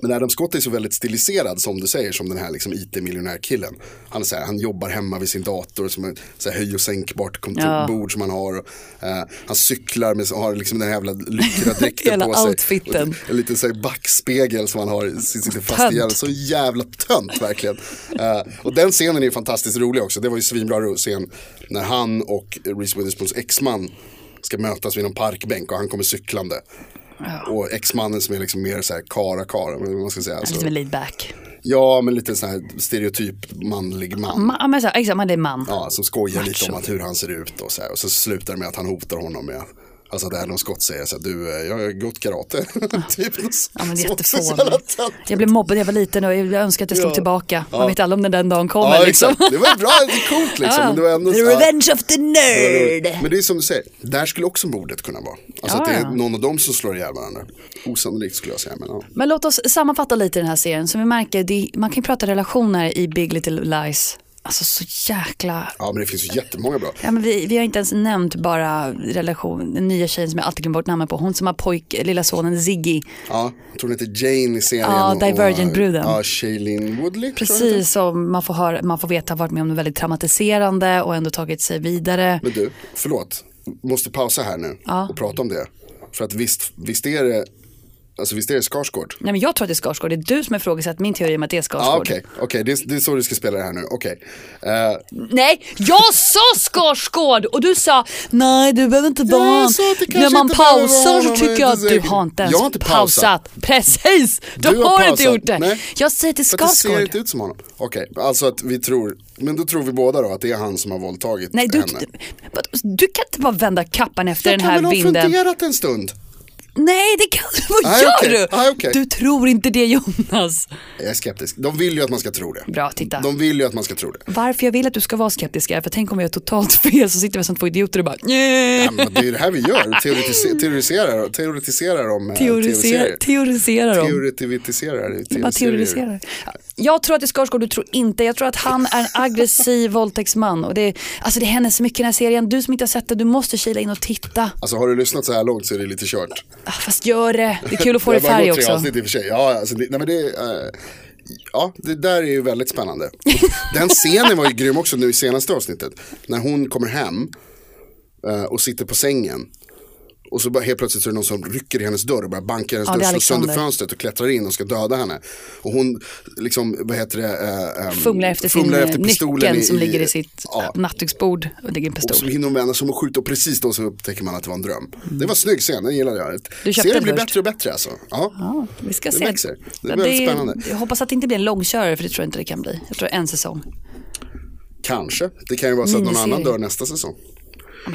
Speaker 2: men Adam Scott är så väldigt stiliserad som du säger, som den här liksom it-miljonärkillen. Han, är så här, han jobbar hemma vid sin dator, som är så här höj och sänkbart kontorbord som han har. Och, eh, han cyklar med, har liksom den här jävla lyckra dräkten
Speaker 3: (laughs) Hela
Speaker 2: på sig.
Speaker 3: outfiten.
Speaker 2: Och En liten så här backspegel som han har sitter sitter fast
Speaker 3: Tönt.
Speaker 2: i hjärnan. Så jävla tönt verkligen. Eh, och den scenen är ju fantastiskt rolig också. Det var ju svinbra scen när han och Reese Witherspoons exman ska mötas vid någon parkbänk och han kommer cyklande. Och exmannen som är liksom mer så här kara kara, eller vad man ska säga.
Speaker 3: Mm,
Speaker 2: Alltså,
Speaker 3: Lite med laid back.
Speaker 2: ja, men lite sån här stereotyp manlig man.
Speaker 3: Ma- ja, men så här, exakt, man det är man.
Speaker 2: Ja, som skojar lite
Speaker 3: Macho.
Speaker 2: om att hur han ser ut och så här. Och så slutar det med att han hotar honom med Alltså där någon skott säger så här, du, eh, jag har gått karate. (laughs) typ
Speaker 3: Ja, men det är jättefånigt.
Speaker 2: jättefånigt.
Speaker 3: Jag blev mobbad när jag var liten och jag önskar att jag slog
Speaker 2: Ja.
Speaker 3: tillbaka. Man
Speaker 2: Ja.
Speaker 3: vet aldrig om den, den dagen kommer.
Speaker 2: Ja,
Speaker 3: liksom. (laughs)
Speaker 2: exakt. Det var bra, det är coolt liksom. Men det var ändå
Speaker 3: The
Speaker 2: så-
Speaker 3: revenge of the
Speaker 2: ja, det
Speaker 3: nerd.
Speaker 2: var- Men det är som du säger, där skulle också mordet kunna vara. Alltså att det
Speaker 3: Ja, ja.
Speaker 2: är någon av dem som slår ihjäl varandra. Osannolikt skulle jag säga. Men, ja.
Speaker 3: Men låt oss sammanfatta lite den här serien. Som vi märker, det, man kan ju prata relationer i Big Little Lies. Alltså så jäkla...
Speaker 2: Ja, men det finns ju jättemånga bra.
Speaker 3: Ja, men vi, vi har inte ens nämnt bara relation, den nya tjejen som jag alltid glömmer bort namnet på. Hon som har pojk, lilla sonen Ziggy.
Speaker 2: Ja, jag tror hon heter Jane i serien.
Speaker 3: Ja,
Speaker 2: och-
Speaker 3: Divergent-bruden.
Speaker 2: Ja, Shailene Woodley. tror jag hon heter.
Speaker 3: Precis, som man får, höra, man får veta har varit med om något väldigt traumatiserande och ändå tagit sig vidare.
Speaker 2: Men du, förlåt. Måste pausa här nu
Speaker 3: Ja.
Speaker 2: och prata om det. För att visst, visst är det, alltså visst är det Skarsgård?
Speaker 3: Nej men jag tror att det är Skarsgård, det är du som har ifrågasatt min teori om att det är
Speaker 2: Ja,
Speaker 3: Skarsgård.
Speaker 2: Ah, okej, okej, det, är- det är så du ska spela det här nu, okej. Eh,
Speaker 3: Nej, jag sa Skarsgård och du sa nej du behöver inte vara
Speaker 2: Jag
Speaker 3: han.
Speaker 2: sa att det kanske
Speaker 3: När man
Speaker 2: inte behöver vara
Speaker 3: pausar
Speaker 2: honom,
Speaker 3: så
Speaker 2: jag
Speaker 3: tycker
Speaker 2: är inte
Speaker 3: jag att du
Speaker 2: säker.
Speaker 3: har inte ens
Speaker 2: Jag har inte pausat.
Speaker 3: Precis, du,
Speaker 2: Du har
Speaker 3: har, inte
Speaker 2: pausat.
Speaker 3: gjort det.
Speaker 2: Nej.
Speaker 3: Jag säger till
Speaker 2: för att det ser inte
Speaker 3: Skarsgård.
Speaker 2: ut som honom. Okej, alltså att vi tror, men då tror vi båda då att det är han som har våldtagit
Speaker 3: Nej, du,
Speaker 2: henne.
Speaker 3: vadå, du kan inte bara vända kappan efter
Speaker 2: Jag
Speaker 3: den
Speaker 2: kan
Speaker 3: här
Speaker 2: väl ha
Speaker 3: vinden.
Speaker 2: funderat en stund.
Speaker 3: Nej, det kan du Vad
Speaker 2: Nej,
Speaker 3: gör
Speaker 2: okej.
Speaker 3: du?
Speaker 2: Nej, okej.
Speaker 3: Du tror inte det Jonas.
Speaker 2: Jag är skeptisk. De vill ju att man ska tro det.
Speaker 3: Bra, titta.
Speaker 2: De vill ju att man ska tro det.
Speaker 3: Varför jag vill att du ska vara skeptisk är för tänk om jag är totalt (laughs) fel så sitter vi som två idioter och bara nej.
Speaker 2: Ja, men det är ju det här vi gör.
Speaker 3: (laughs)
Speaker 2: Teoretise- Teoretiserar, teoretiserar om eh,
Speaker 3: Teorisera,
Speaker 2: tv-serier.
Speaker 3: teorisera dem.
Speaker 2: Teoretivitiserar.
Speaker 3: Bara teoriserar. Jag tror att det är Skarsgård, du tror inte. Jag tror att han är en aggressiv (laughs) våldtäktsman. Och det, alltså det händer så mycket i den här serien. Du som inte har sett det, du måste kila in och titta.
Speaker 2: Alltså har du lyssnat så här långt så är det lite kört.
Speaker 3: Ah, Fast gör det. Det är kul att få det i
Speaker 2: har bara
Speaker 3: färg
Speaker 2: gått tre
Speaker 3: också.
Speaker 2: avsnitt i och för sig. Ja, alltså, det, nej, men det, eh, ja, det där är ju väldigt
Speaker 3: (laughs)
Speaker 2: spännande. Den scenen var ju grym också nu i senaste avsnittet. När hon kommer hem eh, och sitter på sängen. Och så bara helt plötsligt så är det någon som rycker i hennes dörr och börjar banka i hennes
Speaker 3: Ja, det
Speaker 2: dörr,
Speaker 3: är
Speaker 2: slår sönder
Speaker 3: Alexander.
Speaker 2: fönstret och klättrar in och ska döda henne. Och hon liksom, vad heter det? eh, ehm,
Speaker 3: Fumlar efter sin
Speaker 2: fumlar
Speaker 3: eh, nyckeln som ligger i sitt
Speaker 2: ja.
Speaker 3: nattduksbord. Och det ligger en
Speaker 2: Och så
Speaker 3: pistol.
Speaker 2: hinner hon vända sig om och skjuta och precis då så upptäcker man att det var en dröm. Det var en snygg scen, den gillade jag.
Speaker 3: Mm. Du köpte
Speaker 2: Serien
Speaker 3: den
Speaker 2: blir
Speaker 3: först?
Speaker 2: bättre och bättre alltså. Ja.
Speaker 3: Ja, vi ska
Speaker 2: Det
Speaker 3: se.
Speaker 2: växer. Det
Speaker 3: Ja,
Speaker 2: blir spännande.
Speaker 3: Jag hoppas att det inte blir en långkörare för det tror jag inte det kan bli. Jag tror en säsong.
Speaker 2: Kanske, det kan ju vara så att någon
Speaker 3: Miniserie.
Speaker 2: annan dör nästa säsong.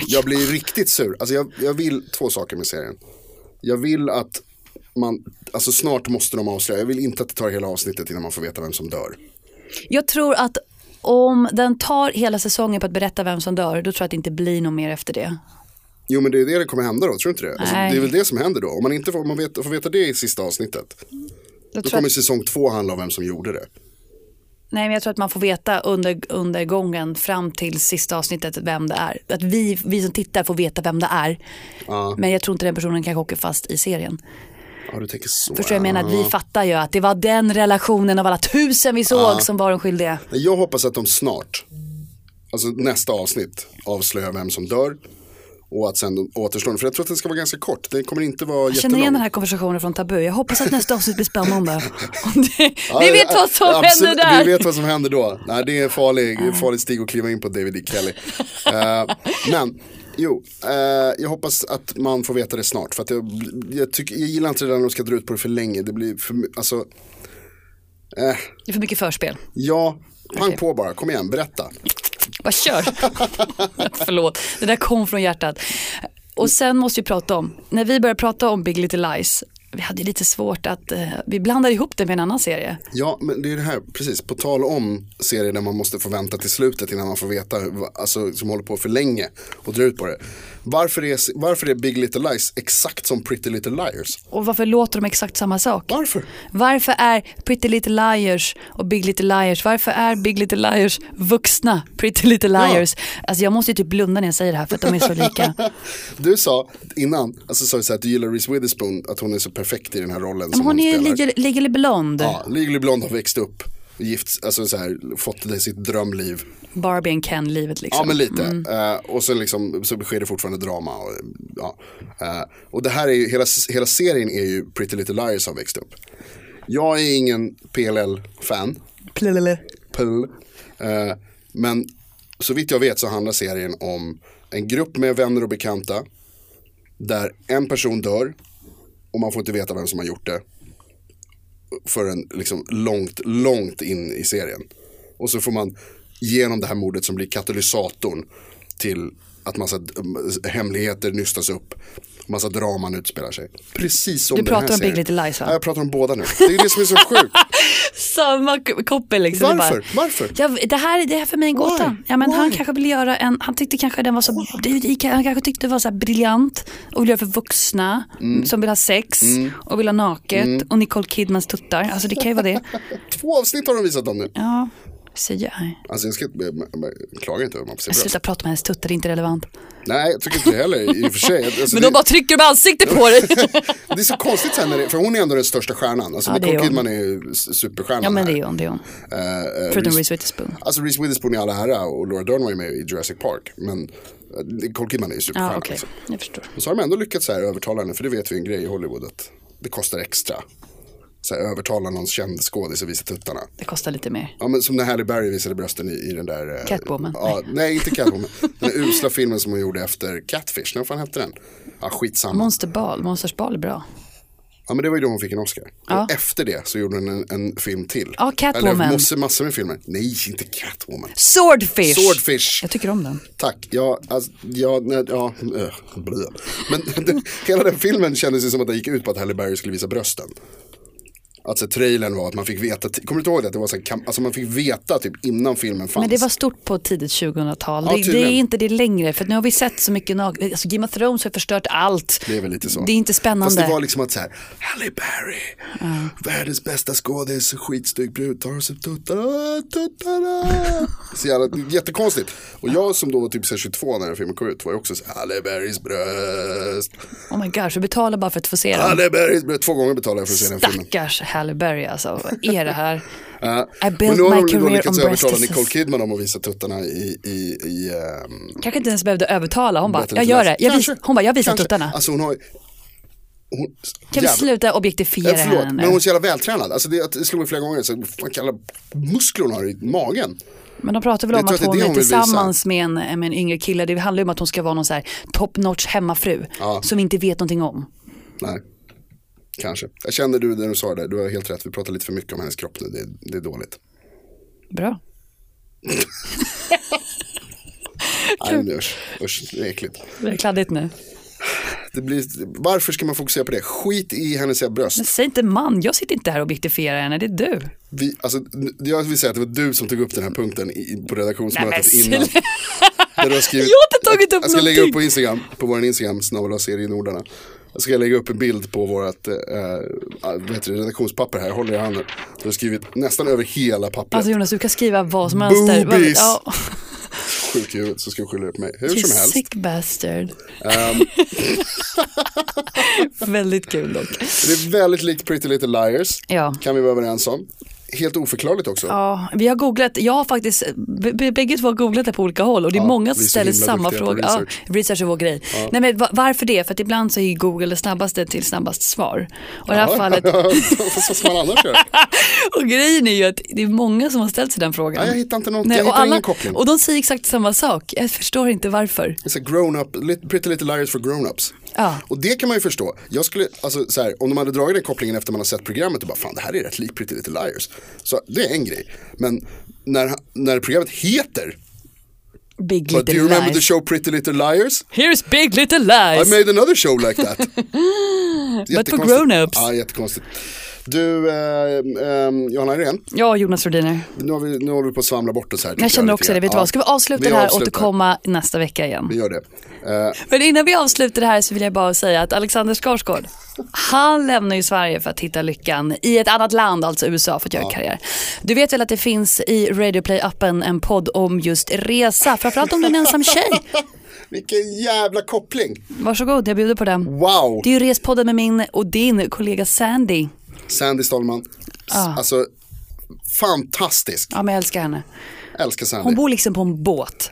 Speaker 2: Jag blir riktigt sur, alltså jag, jag vill två saker med serien. Jag vill att man, alltså snart måste de avslöja, jag vill inte att det tar hela avsnittet innan man får veta vem som dör.
Speaker 3: Jag tror att om den tar hela säsongen på att berätta vem som dör, då tror jag att det inte blir något mer efter det.
Speaker 2: Jo men det är det det kommer hända då, tror du inte det? Alltså,
Speaker 3: Nej.
Speaker 2: det är väl det som händer då, om man inte får, om man vet, får veta det i sista avsnittet.
Speaker 3: Jag
Speaker 2: Då
Speaker 3: tror att-
Speaker 2: kommer säsong två handla om vem som gjorde det.
Speaker 3: Nej, men jag tror att man får veta under, under gången fram till sista avsnittet vem det är. Att vi, vi som tittar får veta vem det är. Men jag tror inte den personen kanske åker fast i serien.
Speaker 2: Ja du tänker så.
Speaker 3: Förstår du? Jag menar att vi fattar ju att det var den relationen av alla tusen vi såg som var den skyldiga.
Speaker 2: Nej, Jag hoppas att de snart, alltså nästa avsnitt, avslöjar vem som dör. Och att sen de återstår, för jag tror att den ska vara ganska kort. Den kommer inte vara
Speaker 3: Jag känner igen den
Speaker 2: jättelång.
Speaker 3: här konversationen från Tabu. Jag hoppas att nästa avsnitt
Speaker 2: (laughs)
Speaker 3: blir spännande. (laughs) vi
Speaker 2: Ja,
Speaker 3: vet vad som
Speaker 2: absolut,
Speaker 3: händer där.
Speaker 2: Vi vet vad som händer då. Nej, det är en farlig, en farlig stig att kliva in på David E. Kelly. Eh, men, jo, eh, jag hoppas att man får veta det snart. För att jag, jag, tycker, jag gillar inte det där när de ska dra ut på det för länge. Det blir för, my- alltså, eh,
Speaker 3: Det är för mycket förspel.
Speaker 2: ja, pang på bara, kom igen, berätta.
Speaker 3: Bara kör. (laughs) Förlåt, det där kom från hjärtat. Och sen måste vi prata om, när vi började prata om Big Little Lies, vi hade ju lite svårt att, eh, vi blandade ihop det med en annan serie.
Speaker 2: Ja, men det är det här, precis, på tal om serier där man måste få vänta till slutet innan man får veta, va- alltså som håller på för länge och drar ut på det. Varför är, varför är Big Little Lies exakt som Pretty Little Liars?
Speaker 3: Och varför låter de exakt samma sak?
Speaker 2: Varför? (laughs)
Speaker 3: Varför är Pretty Little Liars och Big Little Liars, varför är Big Little Liars vuxna Pretty Little Liars? Alltså jag måste ju typ blunda när jag säger det här för att de är
Speaker 2: (laughs)
Speaker 3: så lika.
Speaker 2: Du sa innan, alltså sa du så här, att du gillar Reese Witherspoon, att hon är så perfekt i den här rollen
Speaker 3: Men
Speaker 2: som
Speaker 3: hon är ju
Speaker 2: spelar.
Speaker 3: legally- legally blond,
Speaker 2: Ja, Legally Blonde har växt upp, gift, alltså så här, fått det sitt drömliv.
Speaker 3: Barbie and Ken-livet liksom.
Speaker 2: Ja men lite. Eh, och sen liksom, så sker det fortfarande drama. Och, ja. Eh, och det här är ju, hela, hela serien är ju Pretty Little Liars som växt upp. Jag är ingen PLL-fan.
Speaker 3: Plelele.
Speaker 2: PL. Eh, men så vitt jag vet så handlar serien om en grupp med vänner och bekanta. Där en person dör och man får inte veta vem som har gjort det. Förrän liksom långt, långt in i serien. Och så får man genom det här mordet som blir katalysatorn till att massa d- hemligheter nystas upp. Massa draman utspelar sig. Precis som
Speaker 3: Du
Speaker 2: den här
Speaker 3: pratar om Big
Speaker 2: serien.
Speaker 3: Little Lies, va?
Speaker 2: Ja, jag pratar om båda nu. Det är det som är så
Speaker 3: (laughs)
Speaker 2: sjukt.
Speaker 3: Samma k- koppel liksom. Det är
Speaker 2: Varför?
Speaker 3: Bara,
Speaker 2: Varför?
Speaker 3: Ja, det, här, det här är för mig en gåta.
Speaker 2: Why?
Speaker 3: Ja, men han
Speaker 2: Why?
Speaker 3: kanske ville göra en, han tyckte kanske den var så, det- det- han kanske tyckte det var så här briljant och ville göra för vuxna
Speaker 2: Mm.
Speaker 3: som vill ha sex och vill
Speaker 2: (laughs)
Speaker 3: ha naket och Nicole Kidmans tuttar. Alltså det kan ju vara det.
Speaker 2: Två avsnitt har de visat om nu.
Speaker 3: Ja. CGI.
Speaker 2: Alltså jag ska inte, jag- jag- jag klagar inte över Mamma
Speaker 3: Sluta prata med hennes tuttar, det är inte relevant.
Speaker 2: Nej, jag tycker inte det heller i och för
Speaker 3: (laughs)
Speaker 2: sig. Alltså,
Speaker 3: Men de
Speaker 2: det,
Speaker 3: bara trycker med ansiktet
Speaker 2: (laughs)
Speaker 3: på dig.
Speaker 2: det är så konstigt sen, när det, för hon är ändå den största stjärnan. Alltså
Speaker 3: Ja, det är
Speaker 2: Nicole
Speaker 3: hon.
Speaker 2: Kidman är ju s- superstjärnan
Speaker 3: ja men
Speaker 2: här.
Speaker 3: det är hon, det är hon.
Speaker 2: Eh, eh,
Speaker 3: Förutom
Speaker 2: Reese-
Speaker 3: Reese Witherspoon.
Speaker 2: Alltså Reese Witherspoon i all ära och Laura Dern var ju med i Jurassic Park. Men eh, Nicole Kidman är ju
Speaker 3: Ja
Speaker 2: superstjärnan.
Speaker 3: Ah, okej,
Speaker 2: liksom.
Speaker 3: jag förstår.
Speaker 2: Och så har de ändå lyckats så här övertala henne, för det vet vi en grej i Hollywood att det kostar extra. Så här, övertala någons känd skådis att visa tuttarna.
Speaker 3: Det kostar lite mer.
Speaker 2: Ja men som när Halle Berry visade brösten i, i den där... eh,
Speaker 3: Catwoman.
Speaker 2: Ja, nej. inte Catwoman. Den där usla filmen som hon gjorde efter Catfish, när fan hette den? Ja skitsamma.
Speaker 3: Monster Ball, Monsters Ball är bra.
Speaker 2: Ja men det var ju då hon fick en Oscar.
Speaker 3: Ja.
Speaker 2: Och efter det så gjorde hon en, en film till.
Speaker 3: Ja, Catwoman.
Speaker 2: Eller massor, massor med filmer. Nej inte Catwoman.
Speaker 3: Swordfish!
Speaker 2: Swordfish.
Speaker 3: Jag tycker om den.
Speaker 2: Tack, ja, alltså, ja, nej, ja, äh, blö. Men (laughs) det, hela den filmen kändes ju som att den gick ut på att Halle Berry skulle visa brösten. Alltså trailern var att man fick veta, kommer du inte ihåg det? Att det var så här, kam- alltså man fick veta typ innan filmen fanns.
Speaker 3: Men det var stort på tidigt 2000-tal.
Speaker 2: Ja,
Speaker 3: det, det är
Speaker 2: tydligen.
Speaker 3: inte det längre. För nu har vi sett så mycket nag- alltså Game of Thrones har förstört allt.
Speaker 2: Det är väl lite så.
Speaker 3: Det är inte
Speaker 2: Fast
Speaker 3: spännande.
Speaker 2: det var liksom att så här, Halle Berry, världens bästa skådis, skitsnygg brud, tar sig tuttarna, tuttarna. Så jävla, jättekonstigt. Och jag som då var typ så här 22 när den filmen kom ut var ju också så här, Halle Berrys bröst,
Speaker 3: Oh my gosh, vi betalar bara för att få se den.
Speaker 2: Halle Berrys bröst. Två gånger betalade jag för att se den filmen.
Speaker 3: Stackars Halle Berry alltså. Vad är det här?
Speaker 2: Ja.
Speaker 3: I
Speaker 2: Men
Speaker 3: built
Speaker 2: nu har
Speaker 3: my
Speaker 2: de då
Speaker 3: career on
Speaker 2: lyckats
Speaker 3: breast
Speaker 2: övertala
Speaker 3: disease.
Speaker 2: Nicole Kidman om att visa tuttarna i, i, i ehm,
Speaker 3: Kanske inte ens behövde övertala. Hon bara,
Speaker 2: Berätta
Speaker 3: jag
Speaker 2: lite
Speaker 3: gör
Speaker 2: läs.
Speaker 3: det. Jag vis-
Speaker 2: Kanske.
Speaker 3: hon bara, jag visar
Speaker 2: Kanske.
Speaker 3: tuttarna.
Speaker 2: Alltså hon har ju- hon,
Speaker 3: Kan vi
Speaker 2: jävlar.
Speaker 3: sluta
Speaker 2: Eh,
Speaker 3: objektifiera
Speaker 2: Förlåt,
Speaker 3: henne
Speaker 2: men
Speaker 3: nu?
Speaker 2: hon är så jävla vältränad. Alltså det, det slog mig flera gånger. Så fan kalla muskler hon har i magen.
Speaker 3: Men de pratar väl
Speaker 2: Jag
Speaker 3: om
Speaker 2: tror att
Speaker 3: att
Speaker 2: det är
Speaker 3: hon
Speaker 2: det
Speaker 3: är
Speaker 2: hon vill
Speaker 3: tillsammans med en, med en yngre kille. Det handlar ju om att hon ska vara någon så här top notch hemmafru.
Speaker 2: Ja.
Speaker 3: Som vi inte vet någonting om.
Speaker 2: Nej, kanske. Jag kände du när du sa det där. Du har helt rätt. Vi pratar lite för mycket om hennes kropp nu. Det, det är dåligt.
Speaker 3: Bra.
Speaker 2: Nej, men usch. Usch, det är äckligt.
Speaker 3: Det är kladdigt nu.
Speaker 2: Det blir, varför ska man fokusera på det? Skit i hennes jävla bröst.
Speaker 3: Men säg inte man, jag sitter inte här och objektifierar henne, det är du.
Speaker 2: Vi, alltså, n- jag vill säga att det var du som tog upp den här punkten i, på redaktionsmötet
Speaker 3: Nej, men
Speaker 2: innan. Där du har skrivit,
Speaker 3: Jag har inte tagit upp
Speaker 2: Jag ska lägga upp
Speaker 3: någonting.
Speaker 2: på Instagram, på vår Instagram, snabel serienordarna. Jag ska lägga upp en bild på vårt eh, vad heter det, redaktionspapper här, jag håller i handen. Du har skrivit nästan över hela pappret.
Speaker 3: Alltså Jonas, du kan skriva vad som helst. där.
Speaker 2: Boobies.
Speaker 3: Ja.
Speaker 2: Sjuk i huvudet så ska du skylla det på mig. Hur
Speaker 3: You
Speaker 2: som helst. Ehm.
Speaker 3: sick bastard. (laughs) Väldigt kul dock.
Speaker 2: Det är väldigt likt Pretty Little Liars.
Speaker 3: Ja.
Speaker 2: Kan vi vara överens om. Helt oförklarligt också.
Speaker 3: Ja, vi har googlat, jag har faktiskt, b- b- bägge två har googlat det på olika håll och det är
Speaker 2: Ja,
Speaker 3: många som
Speaker 2: vi är så
Speaker 3: ställer
Speaker 2: himla
Speaker 3: samma
Speaker 2: duktiga på
Speaker 3: fråga. Ja,
Speaker 2: research.
Speaker 3: research är vår grej. Nej, men va- varför det? För att ibland så är ju Google det snabbaste till snabbast svar. Och i det
Speaker 2: (laughs)
Speaker 3: här fallet, (laughs)
Speaker 2: Fast vad ska man annars göra?
Speaker 3: och grejen är ju att det är många som har ställt sig den frågan.
Speaker 2: Ja, jag hittar inte någon-
Speaker 3: Nej,
Speaker 2: jag
Speaker 3: och
Speaker 2: hittar ingen
Speaker 3: alla-
Speaker 2: koppling.
Speaker 3: Och de säger exakt samma sak, jag förstår inte varför.
Speaker 2: It's a grown up, lit- Pretty Little Liars for grown-ups.
Speaker 3: Ja.
Speaker 2: Och det kan man ju förstå. Jag skulle, alltså, så här, om de hade dragit den kopplingen efter man har sett programmet och bara fan det här är rätt likt Pretty Little Liars. Så det är en grej. Men när, när programmet heter
Speaker 3: Big
Speaker 2: But do you
Speaker 3: Little
Speaker 2: remember the
Speaker 3: Lies.
Speaker 2: show Pretty Little Liars?
Speaker 3: Here's Big Little Lies.
Speaker 2: I made another show like
Speaker 3: (laughs)
Speaker 2: that. Jättekonstigt.
Speaker 3: grown-ups.
Speaker 2: Ja, jättekonstigt. Du, eh, eh, Johanna Irene,
Speaker 3: Ja, Jonas Rhodiner.
Speaker 2: nu, har vi, nu håller vi på att svamla bort oss här. tycker
Speaker 3: Jag känner
Speaker 2: lite
Speaker 3: också det.
Speaker 2: grann.
Speaker 3: Vet du
Speaker 2: Ja,
Speaker 3: vad? Ska vi avsluta
Speaker 2: vi
Speaker 3: det här och
Speaker 2: avslutar.
Speaker 3: återkomma nästa vecka
Speaker 2: Vi
Speaker 3: igen?
Speaker 2: gör det. Eh,
Speaker 3: Men innan vi avslutar det här så vill jag bara säga att Alexander Skarsgård, han lämnar ju Sverige för att hitta lyckan i ett annat land, alltså USA, för att göra karriär. Du vet väl att det finns i Radio Play-appen en podd om just resa, framförallt om du är en ensam tjej.
Speaker 2: (laughs) vilken jävla koppling.
Speaker 3: Varsågod, jag bjuder på den.
Speaker 2: Wow.
Speaker 3: Det är ju Respodden med min och din kollega Sandy.
Speaker 2: Sandy Stallman.
Speaker 3: Ah.
Speaker 2: Alltså, fantastisk.
Speaker 3: Ja, men jag älskar henne.
Speaker 2: Älskar Sandy. (laughs)
Speaker 3: Hon
Speaker 2: Hon,
Speaker 3: bor liksom på en båt.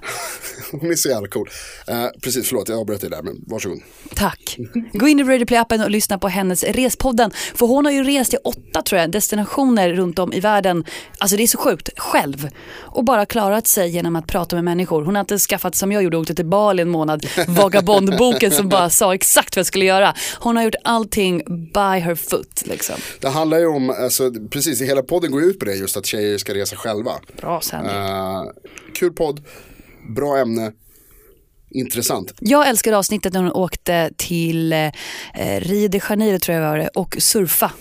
Speaker 2: är så jävla cool. Eh, precis, förlåt, jag avbröt dig där, men varsågod.
Speaker 3: Tack. Gå in i Radioplay-appen och lyssna på hennes Respodden. För hon har ju rest i åtta tror jag, destinationer runt om i världen. Alltså det är så sjukt, själv. Och bara klarat sig genom att prata med människor. Hon har inte skaffat som jag gjorde och åkte till Bali en månad. Vagabondboken som bara sa exakt vad jag skulle göra. Hon har gjort allting by her foot liksom.
Speaker 2: Det handlar ju om, alltså, precis, hela podden går ju ut på det, just att tjejer ska resa själva.
Speaker 3: Bra Sandy.
Speaker 2: Eh, kul podd, bra ämne, intressant.
Speaker 3: Jag älskar avsnittet när hon åkte till eh, Rio de Janeiro tror jag var det och surfa.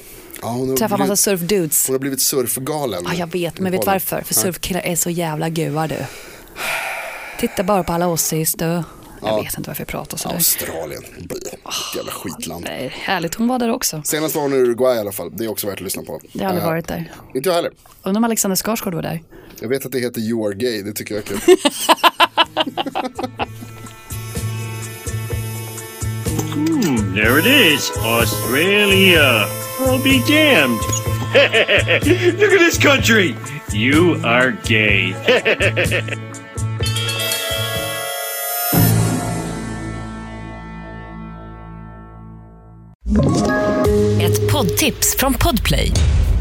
Speaker 2: Ja, hon, har
Speaker 3: Träffa massa
Speaker 2: blivit,
Speaker 3: surfdudes.
Speaker 2: hon har blivit surfgalen.
Speaker 3: Ja, Ah, jag vet, men vet du varför? För surfkillar är så jävla gua du. Titta bara på alla oss i stö. Jag vet inte varför jag pratar sådär.
Speaker 2: Australien, Bli.
Speaker 3: Ah,
Speaker 2: jävla skitland.
Speaker 3: Nej, härligt, hon var där också.
Speaker 2: Senast var hon i Uruguay i alla fall, det är också värt att lyssna på.
Speaker 3: Jag har aldrig
Speaker 2: Eh,
Speaker 3: varit där.
Speaker 2: Inte jag heller.
Speaker 3: Undrar om Alexander Skarsgård var där.
Speaker 2: Jag vet att det heter You Are Gay, det tycker jag är kul.
Speaker 1: Hmm, There it is, Australia. I'll be damned. (laughs) Look at this country. You are gay.
Speaker 5: Ett poddtips från Podplay.